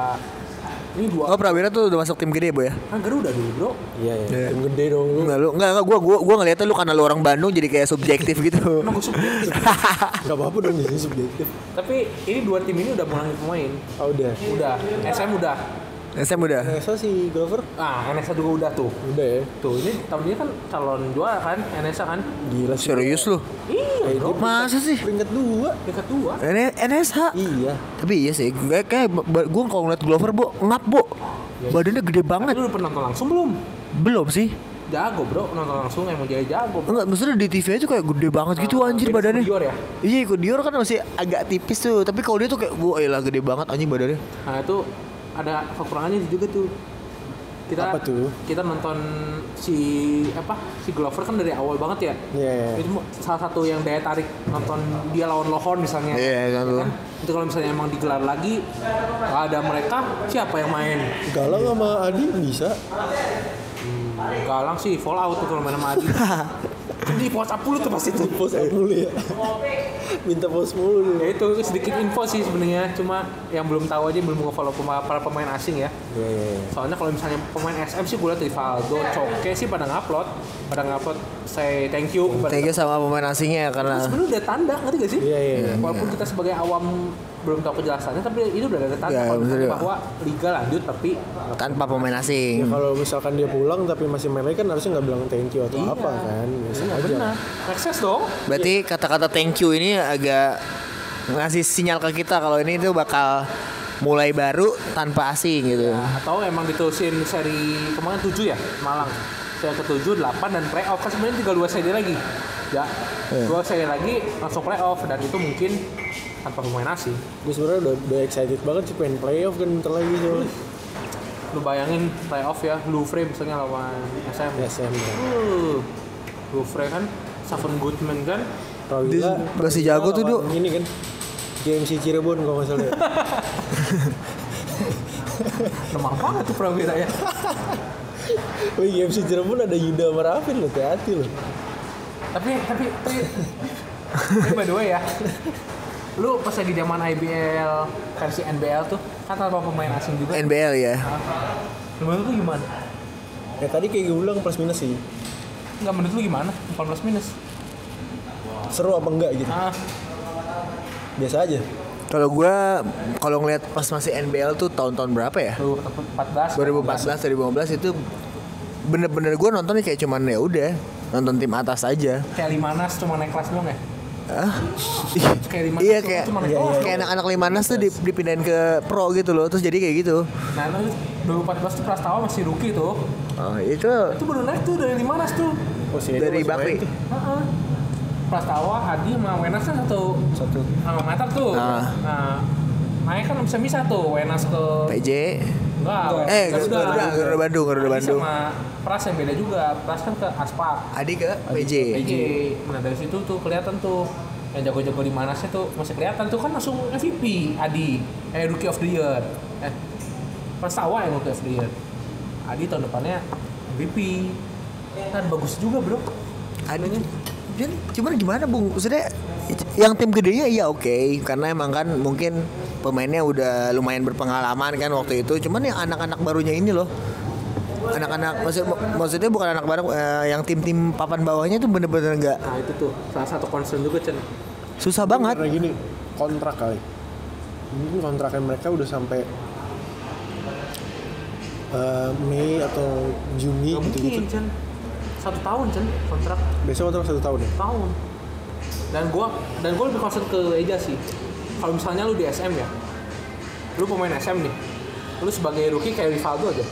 Speaker 3: ini dua
Speaker 1: Oh Prawira tuh udah masuk tim gede bu ya?
Speaker 3: kan Garuda dulu bro
Speaker 4: iya iya tim gede dong lu
Speaker 1: Enggak lu, enggak, enggak gua gua gua ngeliatnya lu karena lu orang Bandung jadi kayak subjektif gitu.
Speaker 3: emang gue subjektif
Speaker 4: nggak apa apa dong jadi subjektif
Speaker 3: tapi ini dua tim ini udah mulangin pemain
Speaker 4: ah udah
Speaker 3: udah SM udah
Speaker 1: SM Nah, udah.
Speaker 4: Nesa si Glover
Speaker 3: ah NSA juga udah tuh
Speaker 4: udah ya
Speaker 3: tuh ini tahun ini kan calon juara kan NSA kan
Speaker 4: gila sih
Speaker 1: Serius lu?
Speaker 3: iya
Speaker 4: Kayak
Speaker 3: bro
Speaker 4: dia
Speaker 1: Masa sih?
Speaker 4: peringkat dua
Speaker 3: dekat dua
Speaker 1: Ini NSH.
Speaker 4: iya
Speaker 1: Tapi iya sih, gue kayak gue kalau ngeliat Glover bu ngap bu, badannya gede banget.
Speaker 3: lu udah pernah nonton langsung belum
Speaker 1: Belum sih?
Speaker 3: jago bro nonton langsung emang jadi jago bro
Speaker 1: Enggak, maksudnya di TV aja kayak gede banget gitu anjir
Speaker 3: beda sama
Speaker 1: badannya.
Speaker 3: Dior ya?
Speaker 1: Iya, ikut Dior kan masih agak tipis tuh. Tapi kalau dia tuh kayak gue elah gede banget anjing badannya.
Speaker 3: Nah itu ada kekurangannya juga tuh. Kita
Speaker 4: Apa tuh?
Speaker 3: kita nonton si apa si Glover kan dari awal banget ya.
Speaker 4: Iya, iya.
Speaker 3: Itu mu- salah satu yang daya tarik nonton dia lawan Lohorn misalnya.
Speaker 1: Iya, kan lu.
Speaker 3: Kan? Itu kalau misalnya emang digelar lagi nggak ada mereka siapa yang main?
Speaker 4: Galang sama Adi bisa
Speaker 3: Galang sih Fallout tuh kalau main sama Adi. Kan Di WhatsApp dulu tuh pasti tuh.
Speaker 4: post up mulu ya minta post mulu
Speaker 3: Ya itu itu sedikit info sih sebenarnya cuma yang belum tahu aja belum nge-follow pema- para pemain asing ya.
Speaker 4: iya iya iya.
Speaker 3: soalnya kalau misalnya pemain SM sih gue liat Rivaldo, Coke sih pada ngupload pada ngupload say thank you kepada
Speaker 1: Thank you sama pemain asingnya
Speaker 3: Itu
Speaker 1: karena
Speaker 3: sebenarnya udah tanda ngerti gak sih?
Speaker 4: Iya, iya, iya.
Speaker 3: Walaupun kita sebagai awam belum tahu kejelasannya, tapi itu udah ada tanda
Speaker 1: Iya,
Speaker 3: kalau
Speaker 1: betul,
Speaker 3: misalnya
Speaker 1: iya.
Speaker 3: bahwa liga lanjut tapi
Speaker 1: tanpa pemain
Speaker 4: Ya
Speaker 1: asing.
Speaker 4: kalau misalkan dia pulang tapi masih main lagi kan harusnya nggak bilang thank you atau apa kan. Biasa
Speaker 3: Iya,
Speaker 4: aja.
Speaker 3: benar. Akses dong.
Speaker 1: Berarti kata-kata thank you ini agak ngasih sinyal ke kita kalau ini tuh bakal mulai baru tanpa asing gitu.
Speaker 3: atau emang diterusin seri kemarin 7 ya Malang seri ke-7, 8 dan playoff kan sebenarnya tinggal dua seri lagi ya dua seri lagi langsung playoff dan itu mungkin tanpa pemain asing
Speaker 4: Gue sebenarnya udah, udah excited banget sih pengen playoff kan bentar lagi tuh.
Speaker 3: lu bayangin playoff ya Louvre misalnya lawan SM
Speaker 4: SM.
Speaker 3: uh, Louvre kan Seven Goodman kan
Speaker 1: Dia
Speaker 4: Prawira.
Speaker 1: masih
Speaker 4: Prawira
Speaker 1: jago tuh,
Speaker 4: lawan Ini kan GMC Cirebon kalau nggak salah. ya.
Speaker 3: lemah banget tuh Prawira ya
Speaker 4: Wih GMC Cirebon ada Yuda Marafin loh, hati-hati loh.
Speaker 3: tapi tapi tapi tapi by the way ya lu pas lagi zaman IBL versi NBL tuh kan tanpa pemain asing juga
Speaker 1: NBL ya.
Speaker 3: menurut lu gimana?
Speaker 4: Ya tadi kayak gue bilang plus minus sih.
Speaker 3: nggak menurut lu gimana? 14 minus
Speaker 4: Seru apa enggak gitu.
Speaker 3: ah
Speaker 4: Biasa aja.
Speaker 1: Kalau gua kalau ngeliat pas masih NBL tuh tahun-tahun berapa ya?
Speaker 3: lu 14
Speaker 1: 2014 2015 itu bener-bener gua nontonnya kayak cuman ya udah nonton tim atas aja.
Speaker 3: kayak Limanas cuma naik kelas doang ya?
Speaker 1: Hah?
Speaker 3: kayak Limanas
Speaker 1: iya
Speaker 3: tuh
Speaker 1: kayak
Speaker 3: cuma naik
Speaker 1: iya,
Speaker 3: kelas
Speaker 1: kayak anak-anak limanas tuh dip- dipindahin ke pro gitu loh terus jadi kayak gitu
Speaker 3: nah lu 2014 tuh Prastawa masih rookie tuh
Speaker 1: oh, itu
Speaker 3: itu baru naik tuh dari Limanas tuh
Speaker 4: Oh, si Edo
Speaker 1: dari
Speaker 4: masih
Speaker 1: Bakri
Speaker 4: main tuh.
Speaker 3: Heeh. Prastawa, Hadi, sama Wenas kan satu
Speaker 4: Satu.
Speaker 3: alma mater tuh
Speaker 1: Ah.
Speaker 3: nah naik kan bisa bisa tuh Wenas ke
Speaker 1: PJ
Speaker 3: Enggak.
Speaker 1: Eh,
Speaker 3: Garuda.
Speaker 1: Garuda, Garuda Bandung, Garuda
Speaker 3: Adi
Speaker 1: Bandung.
Speaker 3: Sama Pras yang beda juga. Pras kan ke Aspak.
Speaker 1: Adi ke PJ
Speaker 3: PJ. Nah, dari situ tuh kelihatan tuh yang jago-jago di Manasnya tuh masih kelihatan tuh kan langsung MVP Adi. Eh, Rookie of the Year. Eh, Prastawa yang Rookie of the Year. Adi tahun depannya MVP. Kan bagus juga, Bro.
Speaker 1: Adi Jadi, Anu, cuman gimana bung maksudnya yang tim gedenya iya oke karena emang kan mungkin pemainnya udah lumayan berpengalaman kan waktu itu cuman yang anak-anak barunya ini loh anak-anak maksud, maksudnya bukan anak baru eh, yang tim-tim papan bawahnya tuh bener-bener nggak
Speaker 3: Nah, itu tuh salah satu concern juga, Chen.
Speaker 1: susah banget
Speaker 4: Karena gini, kontrak kali. Mungkin kontraknya mereka udah sampai eh, Mei atau Juni
Speaker 3: Nggak mungkin,
Speaker 4: gitu-gitu.
Speaker 3: Chen. Satu tahun, Chen, kontrak.
Speaker 4: Biasanya kontrak satu tahun ya.
Speaker 3: tahun dan gua dan gua lebih concern ke Eja sih kalau misalnya lu di SM ya lu pemain SM nih lu sebagai rookie kayak Rivaldo aja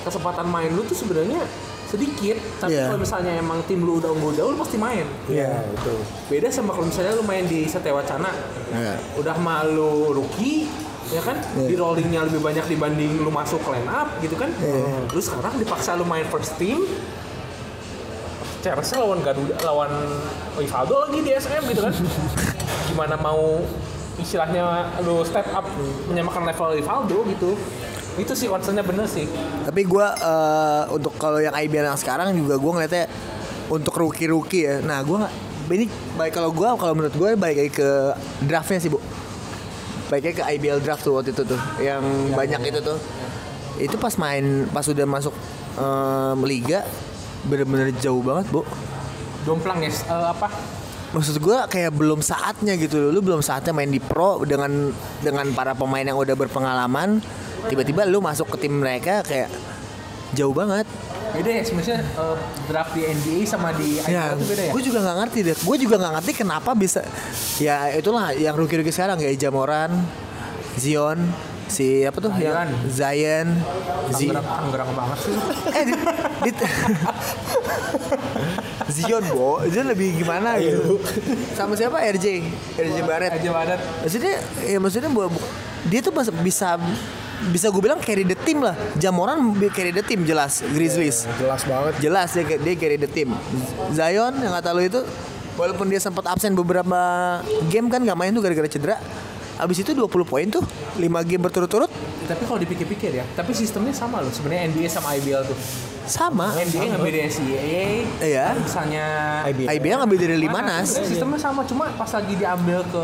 Speaker 3: kesempatan main lu tuh sebenarnya sedikit tapi
Speaker 1: Iya.
Speaker 3: kalau misalnya emang tim lu udah unggul jauh lu pasti main
Speaker 4: Iya, itu.
Speaker 3: beda sama kalau misalnya lu main di Satewacana
Speaker 1: Iya.
Speaker 3: udah malu rookie ya kan di rollingnya lebih banyak dibanding lu masuk line up gitu kan lu sekarang dipaksa lu main first team Chelsea lawan Garuda lawan Rivaldo lagi di SM gitu kan gimana mau istilahnya lu step up menyamakan level Rivaldo gitu itu sih concernnya bener sih
Speaker 1: Tapi gua eh, untuk kalau yang IBL yang sekarang juga gua ngeliatnya untuk rookie-rookie ya. Nah, gua nggak- ini baik kalau gua kalau menurut gua baik lagi ke draftnya sih, Bu. Baiknya ke IBL draft tuh waktu itu tuh yang banyak itu tuh. Itu pas main pas udah masuk em, liga bener-bener jauh banget, Bu.
Speaker 3: jomplang ya eh, apa
Speaker 1: Maksud gua kayak belum saatnya gitu loh. Lu belum saatnya main di pro dengan dengan para pemain yang udah berpengalaman. Tiba-tiba lu masuk ke tim mereka kayak jauh banget.
Speaker 3: beda ya sebenarnya eh, draft di NBA sama di IPL
Speaker 1: Ya,
Speaker 3: itu beda ya
Speaker 1: gue juga nggak ngerti deh. Gue juga nggak ngerti kenapa bisa. Ya itulah yang rugi-rugi sekarang kayak Jamoran, Zion, si apa tuh yang Zion, Zi-
Speaker 3: Tanggerang, Tanggerang banget sih.
Speaker 1: eh, di, di- Zion bo, Zion lebih gimana gitu. Sama siapa RJ, RJ Barrett.
Speaker 3: Aja Barat.
Speaker 1: Maksudnya, ya maksudnya bu, bu- dia tuh mas- bisa bisa gue bilang carry the team lah. Jamoran carry the team jelas, Grizzlies
Speaker 4: Jelas banget.
Speaker 1: jelas dia dia carry the team. Zion yang kata lu itu walaupun dia sempat absen beberapa game kan nggak main tuh gara-gara cedera. Abis itu 20 poin tuh 5 game berturut-turut
Speaker 3: Tapi kalau dipikir-pikir ya, tapi sistemnya sama loh. Sebenarnya NBA sama IBL tuh.
Speaker 1: sama.
Speaker 3: NBA ngambil dari NCAA.
Speaker 1: Iya.
Speaker 3: Misalnya
Speaker 4: IBL.
Speaker 1: IBL ngambil dari
Speaker 3: Nah,
Speaker 1: Limanas.
Speaker 3: sebenarnya sistemnya sama, cuma pas lagi diambil ke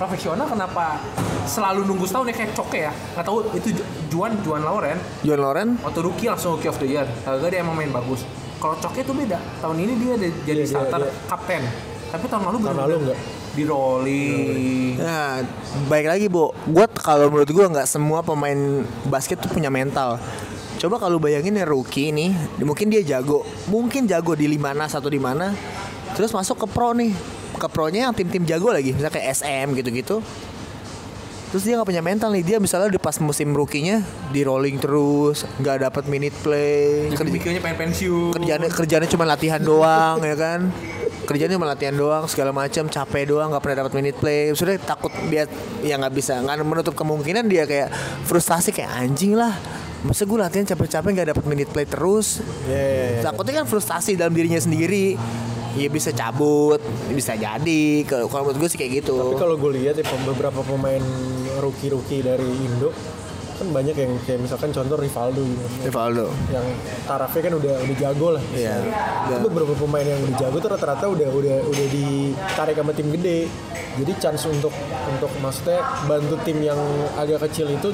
Speaker 3: profesional kenapa selalu nunggu setahun ya kayak coke ya. Nggak tahu itu Ju- Juan Juan Lauren
Speaker 1: John Loren
Speaker 3: waktu rookie langsung rookie of the year. Kagak dia emang main bagus. Kalau coke itu beda. Tahun ini dia ada jadi
Speaker 4: Iya, dia-
Speaker 3: starter
Speaker 4: dia.
Speaker 3: kapten. Tapi tahun lalu
Speaker 4: Tahun
Speaker 3: bener-bener
Speaker 4: lalu enggak.
Speaker 3: di rolling.
Speaker 1: Nah, baik lagi, Bu. Gua t- kalau menurut gua nggak semua pemain basket tuh punya mental. Coba kalau bayangin ya rookie nih, di- mungkin dia jago, mungkin jago di mana satu di mana, terus masuk ke pro nih. ke pro-nya yang tim-tim jago lagi, misalnya kayak SM gitu-gitu. Terus dia nggak punya mental nih, dia misalnya di pas musim rookie-nya di rolling terus, nggak dapat minute play,
Speaker 5: Jadi
Speaker 1: kerja-
Speaker 5: mikirnya pengen pensiun.
Speaker 1: kerjanya kerjanya cuma latihan doang ya kan kerjanya cuma latihan doang segala macam capek doang nggak pernah dapat minute play sudah takut dia ya nggak bisa nggak menutup kemungkinan dia kayak frustasi kayak anjing lah masa gue latihan capek-capek nggak dapat minute play terus
Speaker 4: Iya,
Speaker 1: takutnya kan frustasi dalam dirinya sendiri ya bisa cabut bisa jadi kalau kalau menurut gue sih kayak gitu
Speaker 4: Tapi kalau gue lihat ya pem- beberapa pemain rookie-rookie dari Indo kan banyak yang kayak misalkan contoh Rivaldo gitu.
Speaker 1: Rivaldo
Speaker 4: yang tarafnya kan udah udah jago lah.
Speaker 1: Iya.
Speaker 4: Itu beberapa pemain yang udah jago tuh rata-rata udah udah udah ditarik sama tim gede. Jadi chance untuk untuk maksudnya bantu tim yang agak kecil itu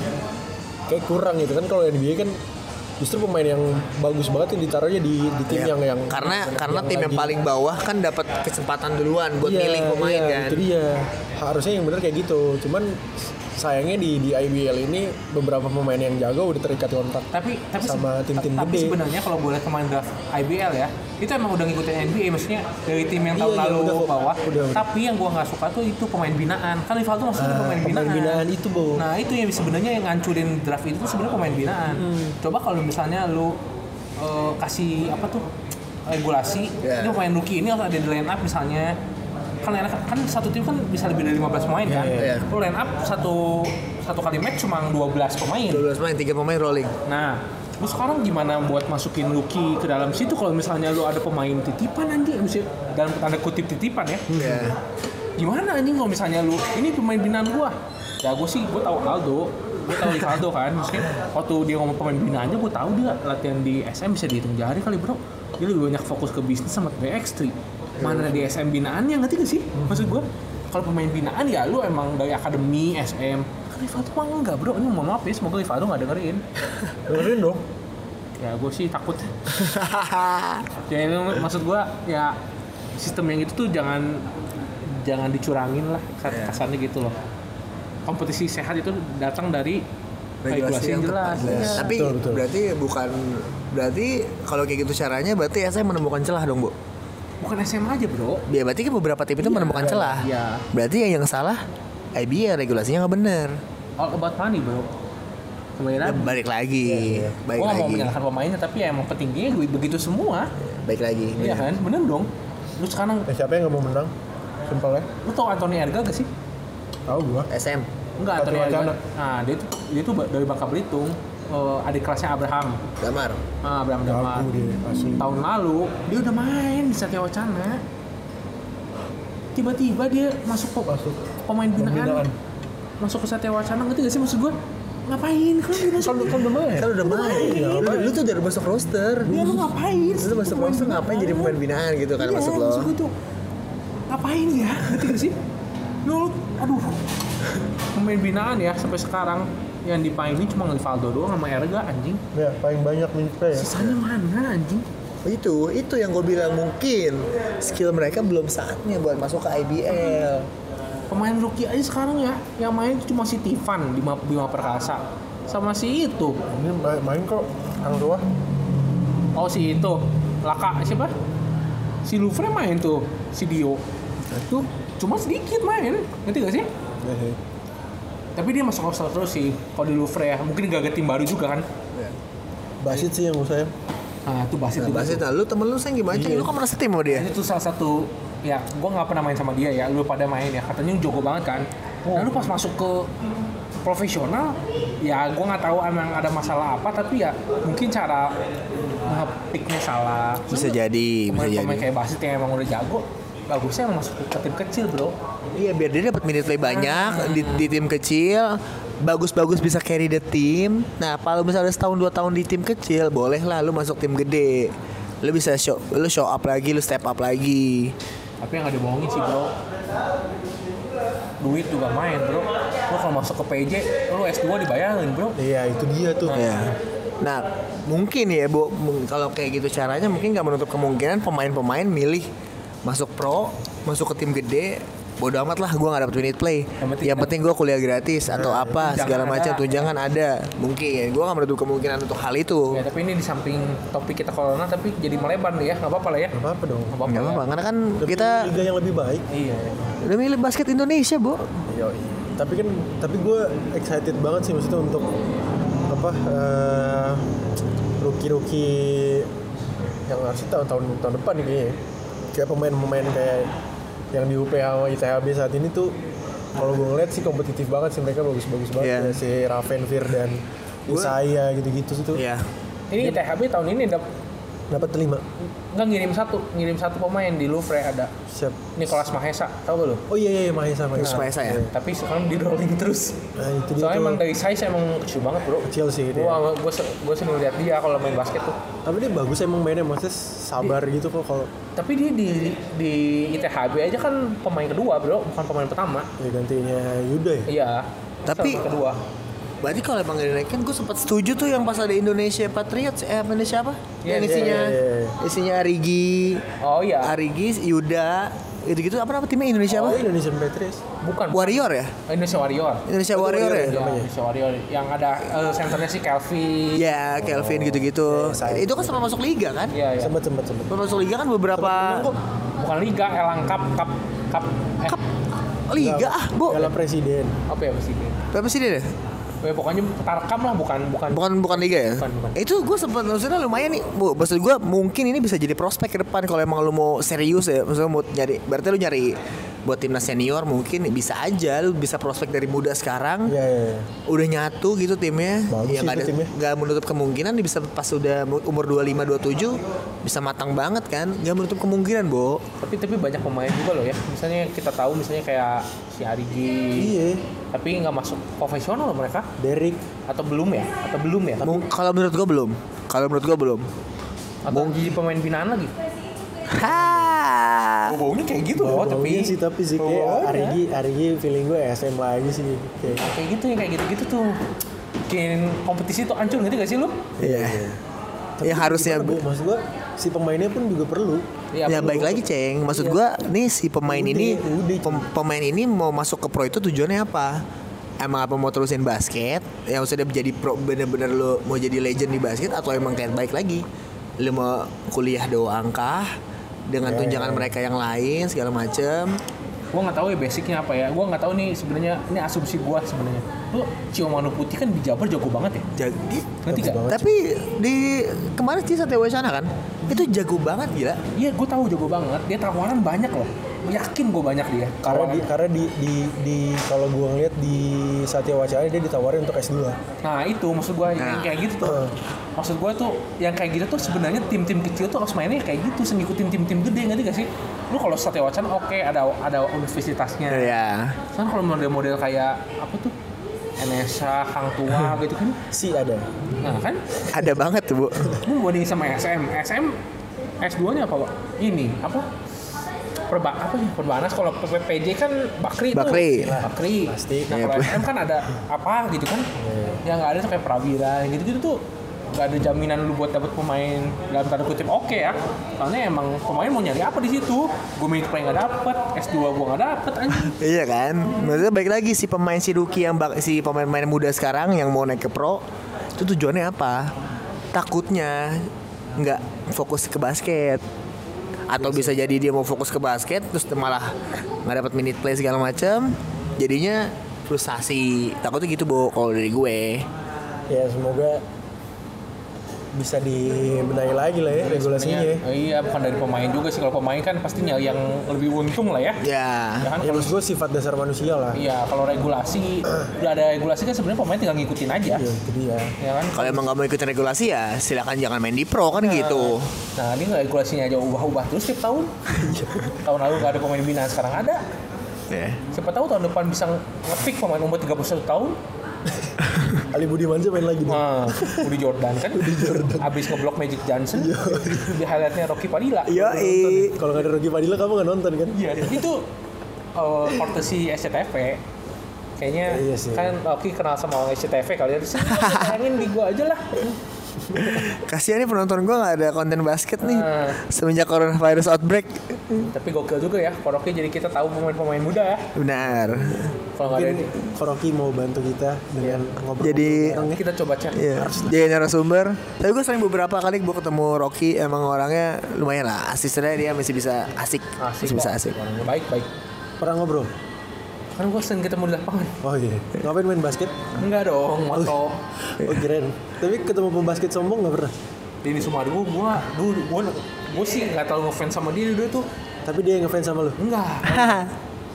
Speaker 4: kayak kurang gitu kan kalau NBA kan justru pemain yang bagus banget yang ditaruhnya di, di tim yang yang
Speaker 1: Iya. karena karena tim yang
Speaker 4: lagi-
Speaker 1: paling bawah kan dapat kesempatan duluan buat
Speaker 4: Iya,
Speaker 1: milih pemain
Speaker 4: iya,
Speaker 1: kan
Speaker 4: Itu dia. Harusnya yang bener kayak gitu. Cuman sayangnya di di IBL ini beberapa pemain yang jago udah terikat kontrak.
Speaker 3: tapi tapi se-
Speaker 4: Sama tim-tim
Speaker 3: tapi
Speaker 4: gede.
Speaker 3: sebenarnya kalau boleh pemain draft IBL ya itu emang udah ngikutin NBA maksudnya dari tim yang
Speaker 4: Iya,
Speaker 3: tahun
Speaker 4: iya,
Speaker 3: lalu
Speaker 4: udah kok.
Speaker 3: bawah
Speaker 4: Udah, udah.
Speaker 3: tapi yang gua nggak suka tuh itu pemain binaan kan Rivaldo maksudnya
Speaker 4: Ah,
Speaker 3: pemain binaan
Speaker 4: pemain binaan itu, Bo.
Speaker 3: nah itu yang sebenarnya yang ngancurin draft itu tuh sebenarnya pemain binaan
Speaker 4: Hmm.
Speaker 3: coba kalau misalnya lu eh, kasih apa tuh regulasi
Speaker 1: Iya.
Speaker 3: itu pemain rookie ini harus ada di line up misalnya kan line up- kan satu tim kan bisa lebih dari 15 pemain kan
Speaker 1: iya.
Speaker 3: Lu line up satu satu kali match cuma 12 pemain
Speaker 1: 12 pemain tiga pemain rolling
Speaker 3: Nah, lu sekarang gimana buat masukin Lucky ke dalam situ kalau misalnya lu ada pemain titipan nanti mesti dalam tanda kutip titipan ya.
Speaker 1: Iya.
Speaker 3: Gimana anjing kalau misalnya lu ini pemain binaan gua. Ya gua sih gua tahu Aldo, gua tahu Rivaldo kan. Maksudnya waktu dia ngomong pemain binaannya gua tahu dia latihan di SM bisa dihitung jari kali, Bro. Dia lebih banyak fokus ke bisnis sama BX3. Mana di SM binaannya ngerti gak sih? Maksud gua kalau pemain binaan ya lu emang dari akademi SM. Kan Rivaldo mah enggak, Bro. Ini mohon maaf ya, semoga Rivaldo nggak dengerin.
Speaker 4: Dengerin dong.
Speaker 3: ya gue sih takut ya ini maksud gue ya sistem yang itu tuh jangan jangan dicurangin lah kas- kasarnya gitu loh kompetisi sehat itu datang dari regulasi yang jelas iya.
Speaker 1: tepat. Tapi
Speaker 4: Betul, betul.
Speaker 1: berarti bukan berarti kalau kayak gitu caranya berarti saya menemukan celah dong, Bu.
Speaker 3: bukan SMA aja bro
Speaker 1: Ya berarti kan beberapa tim itu menemukan celah.
Speaker 3: iya.
Speaker 1: Berarti yang yang salah IBA regulasinya nggak bener.
Speaker 3: all about money bro kembali
Speaker 1: Ya,
Speaker 3: lagi
Speaker 1: balik lagi,
Speaker 3: gue
Speaker 1: balik
Speaker 3: nggak mau
Speaker 1: lagi,
Speaker 3: menyalahkan pemainnya tapi ya emang petingginya gue begitu semua
Speaker 1: balik lagi.
Speaker 3: iya kan bener dong lu sekarang
Speaker 4: Ya, siapa yang nggak mau menang? Simpel ya.
Speaker 3: lu tau Anthony Erga gak sih
Speaker 4: Tahu gua.
Speaker 1: SM.
Speaker 3: enggak Anthony
Speaker 4: Anthony
Speaker 3: Erga
Speaker 4: Erga.
Speaker 3: nah dia tuh dia tuh ba- dari Bangka Belitung eh, adik kelasnya Abraham
Speaker 1: Damar.
Speaker 3: Ah, Abraham Damar.
Speaker 4: Jago dia asli.
Speaker 3: Tahun lalu dia udah main di Satya Wacana. Tiba-tiba dia masuk ke
Speaker 4: Masuk.
Speaker 3: pemain binaan.
Speaker 4: Pembinaan.
Speaker 3: Masuk ke Satya Wacana ngerti gak sih maksud gue? Ngapain? Kan dia masuk.
Speaker 4: Kan kan udah main.
Speaker 1: Kan udah main.
Speaker 3: Iya,
Speaker 1: Lu, lu tuh dari masuk roster.
Speaker 3: Ya lu ngapain?
Speaker 1: Lu masuk roster ngapain jadi pemain binaan gitu kan
Speaker 3: Iya,
Speaker 1: masuk lo.
Speaker 3: maksud gue tuh ngapain ya? Ngerti gak sih? Lu, lu- aduh. Pemain binaan ya sampai sekarang yang dipainin cuma Rivaldo doang sama Erga anjing.
Speaker 4: Ya, paling banyak minute play ya.
Speaker 3: Sisanya mana anjing?
Speaker 1: Itu, itu yang gue bilang mungkin skill mereka belum saatnya buat masuk ke IBL.
Speaker 3: pemain rookie aja sekarang ya yang main cuma si Tivan di Ma- Bima Perkasa sama si itu
Speaker 4: Ini main, main kok Kang tua.
Speaker 3: oh si itu laka siapa si Lufre main tuh si Dio itu cuma sedikit main ngerti gak sih
Speaker 4: Iya,
Speaker 3: tapi dia masuk roster terus sih kalau di Lufre ya mungkin gak ada tim baru juga kan
Speaker 4: Basit sih yang gue sayang.
Speaker 3: nah itu Basit
Speaker 1: Nah,
Speaker 3: itu
Speaker 1: Basit, nah, lu temen lu sayang gimana? Ceng? Lu kok merasa tim sama dia?
Speaker 3: itu salah satu ya gue nggak pernah main sama dia ya lu pada main ya katanya jago banget kan nah lu pas masuk ke profesional ya gue nggak tahu emang ada masalah apa tapi ya mungkin cara ngepicknya salah
Speaker 1: Bisa jadi, bisa jadi.
Speaker 3: pemain-pemain kayak Basit yang emang udah jago bagusnya emang masuk ke tim kecil bro
Speaker 1: Iya, biar dia dapat minute play banyak di, di tim kecil. Bagus-bagus bisa carry the team. Nah, kalau misalnya setahun dua tahun di tim kecil, boleh lah lu masuk tim gede. Lu bisa show, lu show up lagi, lu step up lagi.
Speaker 3: tapi yang gak dibohongin sih bro duit juga main bro lu kalau masuk ke PJ lu S2 dibayarin bro
Speaker 4: Iya, itu dia tuh.
Speaker 1: Ya. Nah, mungkin ya, Bu, mung- kalau kayak gitu caranya mungkin nggak menutup kemungkinan pemain-pemain milih masuk pro, masuk ke tim gede bodo amat lah gue nggak dapet minute play yang penting, gue kuliah gratis atau apa segala macam
Speaker 3: ada.
Speaker 1: tunjangan ada mungkin gue nggak menutup kemungkinan untuk hal itu
Speaker 3: Ya, tapi ini di samping topik kita corona tapi jadi melebar nih ya, nggak apa-apa lah ya.
Speaker 4: Gak apa-apa dong.
Speaker 3: Nggak
Speaker 1: nggak
Speaker 3: apa-apa.
Speaker 1: apa-apa karena kan
Speaker 4: Demi
Speaker 1: kita
Speaker 4: liga yang lebih baik.
Speaker 3: Iya.
Speaker 1: demi basket Indonesia bu
Speaker 4: Yoi. Tapi kan, tapi gue excited banget sih maksudnya untuk apa eh, rookie-rookie yang harus tahun-tahun tahun depan nih kayaknya. Kayak pemain-pemain kayak yang di UPH sama ITHB saat ini tuh kalau gue ngeliat sih kompetitif banget sih mereka bagus-bagus banget
Speaker 1: Iya.
Speaker 4: ya si Ravenvir dan Isaiah gitu-gitu sih tuh
Speaker 1: Iya
Speaker 3: Ini ITHB tahun ini dap-
Speaker 4: dapat lima
Speaker 3: nggak ngirim satu, ngirim satu pemain di Louvre ada
Speaker 4: siap
Speaker 3: Nicolas Mahesa, tahu gak lu?
Speaker 4: oh iya iya iya, Mahesa Mahesa
Speaker 1: Mahesa ya?
Speaker 3: Tapi sekarang di rolling terus.
Speaker 4: nah itu dia
Speaker 3: Soalnya
Speaker 4: tuh.
Speaker 3: emang dari size emang kecil banget bro.
Speaker 4: kecil sih gitu ya. dia
Speaker 3: Wah, gue gue sering lihat dia kalau main basket tuh.
Speaker 4: tapi dia bagus emang mainnya maksudnya sabar
Speaker 1: Iya.
Speaker 4: gitu kok kalau
Speaker 3: Tapi dia di di ITHB aja kan pemain kedua bro, bukan pemain pertama.
Speaker 4: ya gantinya Yuda ya
Speaker 3: Iya.
Speaker 1: Tapi-
Speaker 3: Pemain kedua.
Speaker 1: Berarti kalau emang dinaikin gue sempat setuju tuh yang pas ada Indonesia Patriots eh Indonesia apa? yang
Speaker 3: Iya, iya,
Speaker 1: isinya
Speaker 4: iya,
Speaker 1: isinya Arigi,
Speaker 3: Oh iya.
Speaker 1: Arigi, Yuda, gitu-gitu apa nama timnya Indonesia
Speaker 4: Oh,
Speaker 1: apa?
Speaker 4: Indonesian Patriots.
Speaker 3: Bukan.
Speaker 1: Warrior ya?
Speaker 3: Indonesia Warrior.
Speaker 1: Indonesia Warrior ya?
Speaker 3: Ya, Indonesia Warrior yang ada eh, senternya si Kelvin.
Speaker 1: Ya, Kelvin gitu-gitu.
Speaker 4: saya-
Speaker 1: itu kan sempat masuk liga kan?
Speaker 3: Iya, iya.
Speaker 4: Sempet, sempet, sempet.
Speaker 1: Sempat masuk liga kan beberapa
Speaker 3: Bukan liga, Elang Cup, Cup, Cup. Eh,
Speaker 1: liga ah, Bu.
Speaker 4: Piala presiden.
Speaker 3: apa ya mesti ini?
Speaker 1: Berapa sih dia? deh?
Speaker 3: Ya, pokoknya tarkam lah bukan bukan
Speaker 1: Bukan bukan liga ya?
Speaker 3: Bukan, bukan.
Speaker 1: Itu gue sempat maksudnya lumayan nih, Bu. Maksud gue mungkin ini bisa jadi prospek ke depan kalau emang lu mau serius ya, maksudnya mau nyari berarti lu nyari buat timnas senior mungkin bisa aja lu bisa prospek dari muda sekarang
Speaker 4: Iya, iya, iya.
Speaker 1: udah nyatu gitu timnya
Speaker 4: Bagus
Speaker 1: ya
Speaker 4: sih
Speaker 1: nggak
Speaker 4: itu
Speaker 1: ada-
Speaker 4: timnya.
Speaker 1: nggak menutup kemungkinan bisa pas udah mu- umur 25 27 bisa matang banget kan nggak menutup kemungkinan bo
Speaker 3: tapi tapi banyak pemain juga loh ya misalnya kita tahu misalnya kayak si Arigi
Speaker 4: Iya,
Speaker 3: tapi nggak masuk profesional loh mereka
Speaker 4: Derek.
Speaker 3: atau belum ya atau belum ya
Speaker 1: Mung- kalau menurut gua belum kalau menurut gua belum
Speaker 3: atau jadi pemain binaan lagi
Speaker 1: ha
Speaker 3: baunya kayak gitu loh
Speaker 4: Bau-
Speaker 3: tapi Oh,
Speaker 4: baunya sih tapi sih kayak
Speaker 3: Baunya.
Speaker 4: Arigi, Arigi feeling ya, gue SM lagi sih kayak.
Speaker 3: kayak gitu ya kayak gitu gitu tuh bikin kompetisi tuh hancur nanti gak sih lu
Speaker 1: Iya. Ya, harusnya,
Speaker 4: gimana, Bu? maksud gue si pemainnya pun juga perlu.
Speaker 1: ya
Speaker 3: belum.
Speaker 1: baik lagi ceng maksud gua nih si pemain
Speaker 4: Iya, Udah,
Speaker 1: ini
Speaker 4: udah, Ceng.
Speaker 1: pem- pemain ini mau masuk ke pro itu tujuannya apa emang apa mau terusin basket yang sudah menjadi pro bener-bener lo mau jadi legend di basket atau emang kayak baik lagi lo mau kuliah doang kah dengan tunjangan mereka yang lain segala macem
Speaker 3: gua nggak tahu ya basicnya apa ya gua nggak tahu nih sebenarnya ini asumsi gua sebenarnya lu Ciomano Putih kan di Jabar jago banget ya
Speaker 1: jadi
Speaker 3: nanti gak
Speaker 1: tapi di kemarin sih Satya Wacana kan itu jago banget gila
Speaker 3: Iya, gue tahu jago banget. Dia tawaran banyak loh. Yakin gue banyak dia.
Speaker 4: Karena
Speaker 3: Tawaran.
Speaker 4: di karena di di, di kalau gue ngeliat di Satya Wacana dia ditawarin untuk S2.
Speaker 3: Nah itu maksud gue yang
Speaker 1: Nah.
Speaker 3: kayak gitu tuh. Maksud gue tuh yang kayak gitu tuh sebenarnya tim-tim kecil tuh harus mainnya kayak gitu. Sengikutin tim-tim gede nggak gak sih? Lu kalau Satya Wacana oke ada ada universitasnya.
Speaker 1: ya
Speaker 3: Kan kalau model-model kayak apa tuh? NSA, Hang Tua gitu kan.
Speaker 4: Si ada.
Speaker 3: Nah kan,
Speaker 1: ada banget tuh bu
Speaker 3: lu bandingin sama SM. SM S2-nya apa, Pak? Ini apa? Perba apa ya? Perbanas kalau PPJ kan Bakri tuh.
Speaker 1: Bakri.
Speaker 3: Bakri.
Speaker 4: Pasti. Iya.
Speaker 3: Nah,
Speaker 1: Iya,
Speaker 3: kalau
Speaker 1: Bu.
Speaker 3: SM kan ada apa gitu kan? Yang nggak ada tuh kayak Prawira gitu-gitu tuh nggak ada jaminan lu buat dapet pemain dalam tanda kutip oke ya soalnya emang pemain mau nyari apa di situ gue main play nggak dapet S2 gue nggak dapet anjing
Speaker 1: Iya kan? Maksudnya baik lagi si pemain si Ruki yang bak- si pemain-pemain muda sekarang yang mau naik ke pro itu tujuannya apa? Takutnya nggak fokus ke basket atau bisa jadi dia mau fokus ke basket terus malah nggak dapat minute play segala macam jadinya frustasi takutnya gitu bu kalau dari gue
Speaker 4: Ya semoga bisa dibenahi lagi lah ya regulasinya.
Speaker 3: Sebenarnya, eh, iya bukan dari pemain juga sih kalau pemain kan pastinya yang lebih untung lah ya
Speaker 1: ya
Speaker 3: ya kan
Speaker 4: Ya maksud gue sifat dasar manusia lah.
Speaker 3: Iya, kalau regulasi udah ada regulasi kan sebenarnya pemain tinggal ngikutin aja.
Speaker 4: Ya itu dia.
Speaker 3: Ya kan?
Speaker 1: kalau emang nggak mau ikutin regulasi ya silakan jangan main di pro kan gitu
Speaker 3: Nah, ini nggak regulasinya aja ubah-ubah terus tiap tahun. tahun lalu nggak ada pemain binaan, sekarang ada.
Speaker 1: ya.
Speaker 3: Siapa tahu tahun depan bisa ngepick pemain umur 31 tahun.
Speaker 4: Ali Budiman aja main lagi nih.
Speaker 3: Nah, Budi Jordan kan. Abis ngeblok Magic Johnson. di highlightnya Rocky Padilla.
Speaker 1: Yoi.
Speaker 4: ya. Kalau nggak ada Rogi Padilla kamu nggak nonton kan?
Speaker 3: Iya, itu eh, courtesy SCTV. Kayaknya
Speaker 4: Iya sih.
Speaker 3: kan Rocky kenal sama orang SCTV kali ya. Terus, "Ah, Sayangin di gua aja lah.
Speaker 1: Kasihan nih penonton gue gak ada konten basket nih
Speaker 3: Ah.
Speaker 1: Semenjak coronavirus outbreak
Speaker 3: Tapi gokil juga ya, Koroki jadi kita tahu pemain-pemain muda ya.
Speaker 1: Benar
Speaker 3: Kalau nggak ada
Speaker 4: Mungkin Koroki mau bantu kita dengan
Speaker 3: Iya.
Speaker 4: ngobrol.
Speaker 1: Jadi
Speaker 3: ini, kita coba cek.
Speaker 1: Iya, dia narasumber. Tapi gue sering beberapa kali gue ketemu Rocky emang orangnya lumayan lah. Asistennya dia masih bisa asik,
Speaker 3: Asik
Speaker 1: masih bisa
Speaker 3: kok.
Speaker 1: asik.
Speaker 3: Orangnya Baik, baik.
Speaker 4: pernah ngobrol.
Speaker 3: Kan gue sering ketemu di lapangan.
Speaker 4: Oh iya. Ngapain main basket?
Speaker 3: Enggak dong, moto.
Speaker 4: Oh keren. Tapi ketemu pembasket sombong nggak pernah.
Speaker 3: Dini Sumargo, gue dulu gue gue sih nggak terlalu ngefans sama dia dulu tuh.
Speaker 4: Tapi dia yang ngefans sama lu.
Speaker 3: Enggak.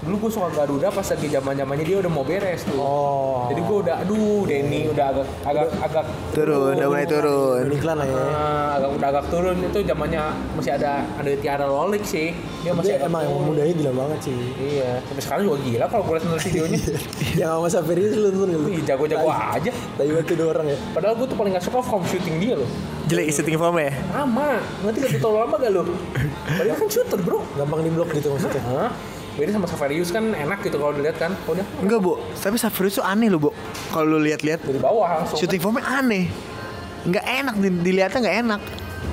Speaker 3: dulu gue suka Garuda pas lagi zaman zamannya dia udah mau beres tuh.
Speaker 4: Oh.
Speaker 3: Jadi gue udah, aduh, Denny udah agak agak agak
Speaker 1: Turun, udah mulai turun.
Speaker 4: Main iklan lah ya.
Speaker 3: eh, agak udah agak turun itu zamannya masih ada ada Tiara Lolik sih. Dia masih
Speaker 4: Dia
Speaker 3: agak
Speaker 4: emang
Speaker 3: turun.
Speaker 4: mudanya gila banget sih.
Speaker 3: Iya, tapi sekarang juga gila kalau gue lihat nonton videonya.
Speaker 4: yang Ya, sama Saverius lu nonton nggak lu.
Speaker 3: Ih, jago-jago aja.
Speaker 4: Tapi banget tuh dua orang ya.
Speaker 3: Padahal gue tuh paling gak suka form shooting dia loh.
Speaker 1: Jelek shooting form ya.
Speaker 3: Lama, nanti gak terlalu lama gak lo? Padahal kan shooter bro.
Speaker 4: Gampang di blok gitu maksudnya.
Speaker 3: Hah? Beda sama Saverius kan enak gitu kalau dilihat kan. Oh, udah
Speaker 1: Enggak, Bu. Tapi Saverius tuh aneh loh, Bu. Kalau lu lihat-lihat
Speaker 3: dari bawah langsung. kan,
Speaker 1: shooting formnya aneh. Enggak enak di- dilihatnya enggak enak.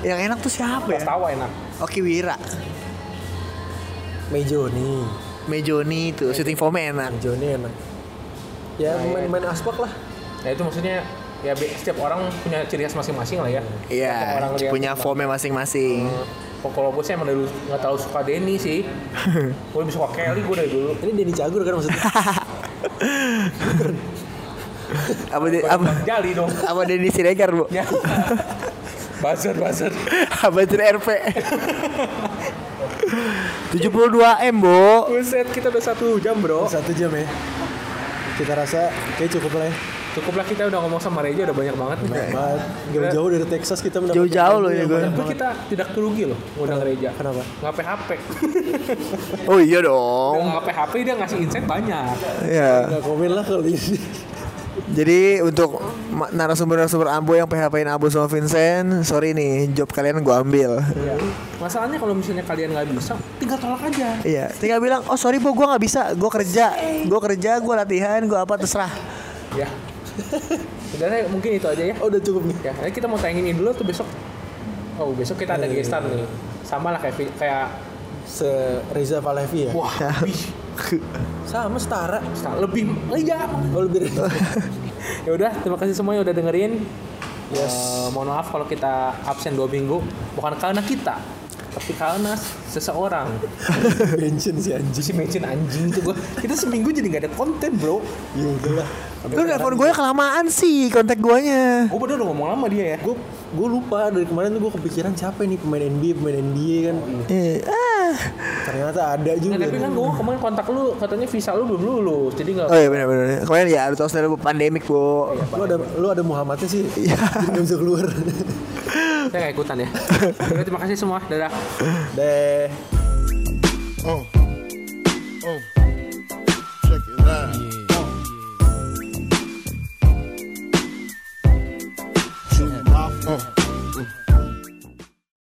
Speaker 1: Yang enak tuh siapa
Speaker 3: Pas
Speaker 1: ya?
Speaker 3: tawa enak.
Speaker 1: Oke Wira,
Speaker 4: Mejo nih.
Speaker 1: Mejoni itu shooting formnya enak.
Speaker 4: Mejo nih enak. Ya
Speaker 3: iya.
Speaker 4: main-main aspak lah.
Speaker 3: Nah itu maksudnya ya be- setiap orang punya ciri khas masing-masing lah ya. Setiap
Speaker 1: Iya,
Speaker 3: orang lihat
Speaker 1: punya
Speaker 3: tentang-
Speaker 1: formnya masing-masing.
Speaker 3: Kok kalau gue sih emang dari dulu nggak terlalu suka Denny sih. gue lebih suka Kelly gue dari dulu.
Speaker 4: Ini Denny Cagur kan maksudnya.
Speaker 1: Apa di- apa
Speaker 3: Bang Jali dong.
Speaker 1: apa Denny Siregar, Bu?
Speaker 3: Ya. Buzzer, buzzer.
Speaker 1: apa jadi RP? 72 M, Bu.
Speaker 3: Buset, kita udah satu jam bro.
Speaker 4: Satu jam ya. Kita rasa kayak cukup lah ya.
Speaker 3: Cukuplah kita udah ngomong sama Reja udah banyak banget nih.
Speaker 4: Banget. Jauh-jauh dari Texas kita mendapatkan
Speaker 1: Jauh-jauh loh ya
Speaker 4: yang
Speaker 1: gue.
Speaker 4: banyak
Speaker 3: Tapi
Speaker 4: banget.
Speaker 3: kita tidak kerugi loh ngundang Reja.
Speaker 4: Kenapa?
Speaker 3: Nggak PHP.
Speaker 1: Oh iya dong.
Speaker 3: Nggak PHP dia ngasih insight banyak.
Speaker 4: Hmm.
Speaker 1: Ya.
Speaker 4: Nggak komen lah kalau ini.
Speaker 1: Jadi untuk ma- narasumber-narasumber Ambo yang PHP-in Ambo sama Vincent, sorry nih, job kalian gua ambil.
Speaker 3: Ya. Masalahnya kalau misalnya kalian nggak bisa, tinggal tolak aja.
Speaker 1: Iya, tinggal bilang, "Oh, sorry, Bu, gua nggak bisa. Gua kerja. Gua kerja, gua latihan, gua apa terserah."
Speaker 3: Ya. Sebenarnya mungkin itu aja ya.
Speaker 4: Oh udah cukup nih.
Speaker 3: Ya, nanti kita mau tayangin ini dulu tuh besok. Oh, besok kita
Speaker 4: Eh.
Speaker 3: ada gestar nih. Sama lah kayak vi- kayak
Speaker 4: Se Reza Palevi ya.
Speaker 3: wah, lebih
Speaker 4: Sama setara.
Speaker 3: star- lebih iya.
Speaker 4: Oh lebih
Speaker 3: Ya udah, terima kasih semuanya udah dengerin. Yes. mohon maaf kalau kita absen dua minggu, bukan karena kita, tapi karena seseorang.
Speaker 4: bensin sih anjing.
Speaker 3: Jadi mention anjing itu gua. Kita seminggu jadi nggak ada konten, Bro.
Speaker 4: Ya udahlah.
Speaker 1: Lu telepon gue kelamaan sih kontak guanya.
Speaker 3: Gue bener udah ngomong lama dia ya.
Speaker 4: Gue gue lupa dari kemarin tuh gue kepikiran siapa nih pemain NBA pemain NBA kan.
Speaker 1: Eh, ah.
Speaker 4: Ternyata ada juga.
Speaker 3: Nah, tapi kan gue kemarin kontak lu, katanya visa lu belum lulus, jadi nggak
Speaker 1: Oh iya benar-benar. Kemarin ya harus tahu sendiri Bu, pandemik, Bu.
Speaker 4: Lu ada lu ada Muhammadnya sih. Iya. Gak bisa keluar.
Speaker 3: saya nggak ikutan ya. Oke, terima kasih semua, dadah.
Speaker 4: Deh.
Speaker 2: Uh. Uh.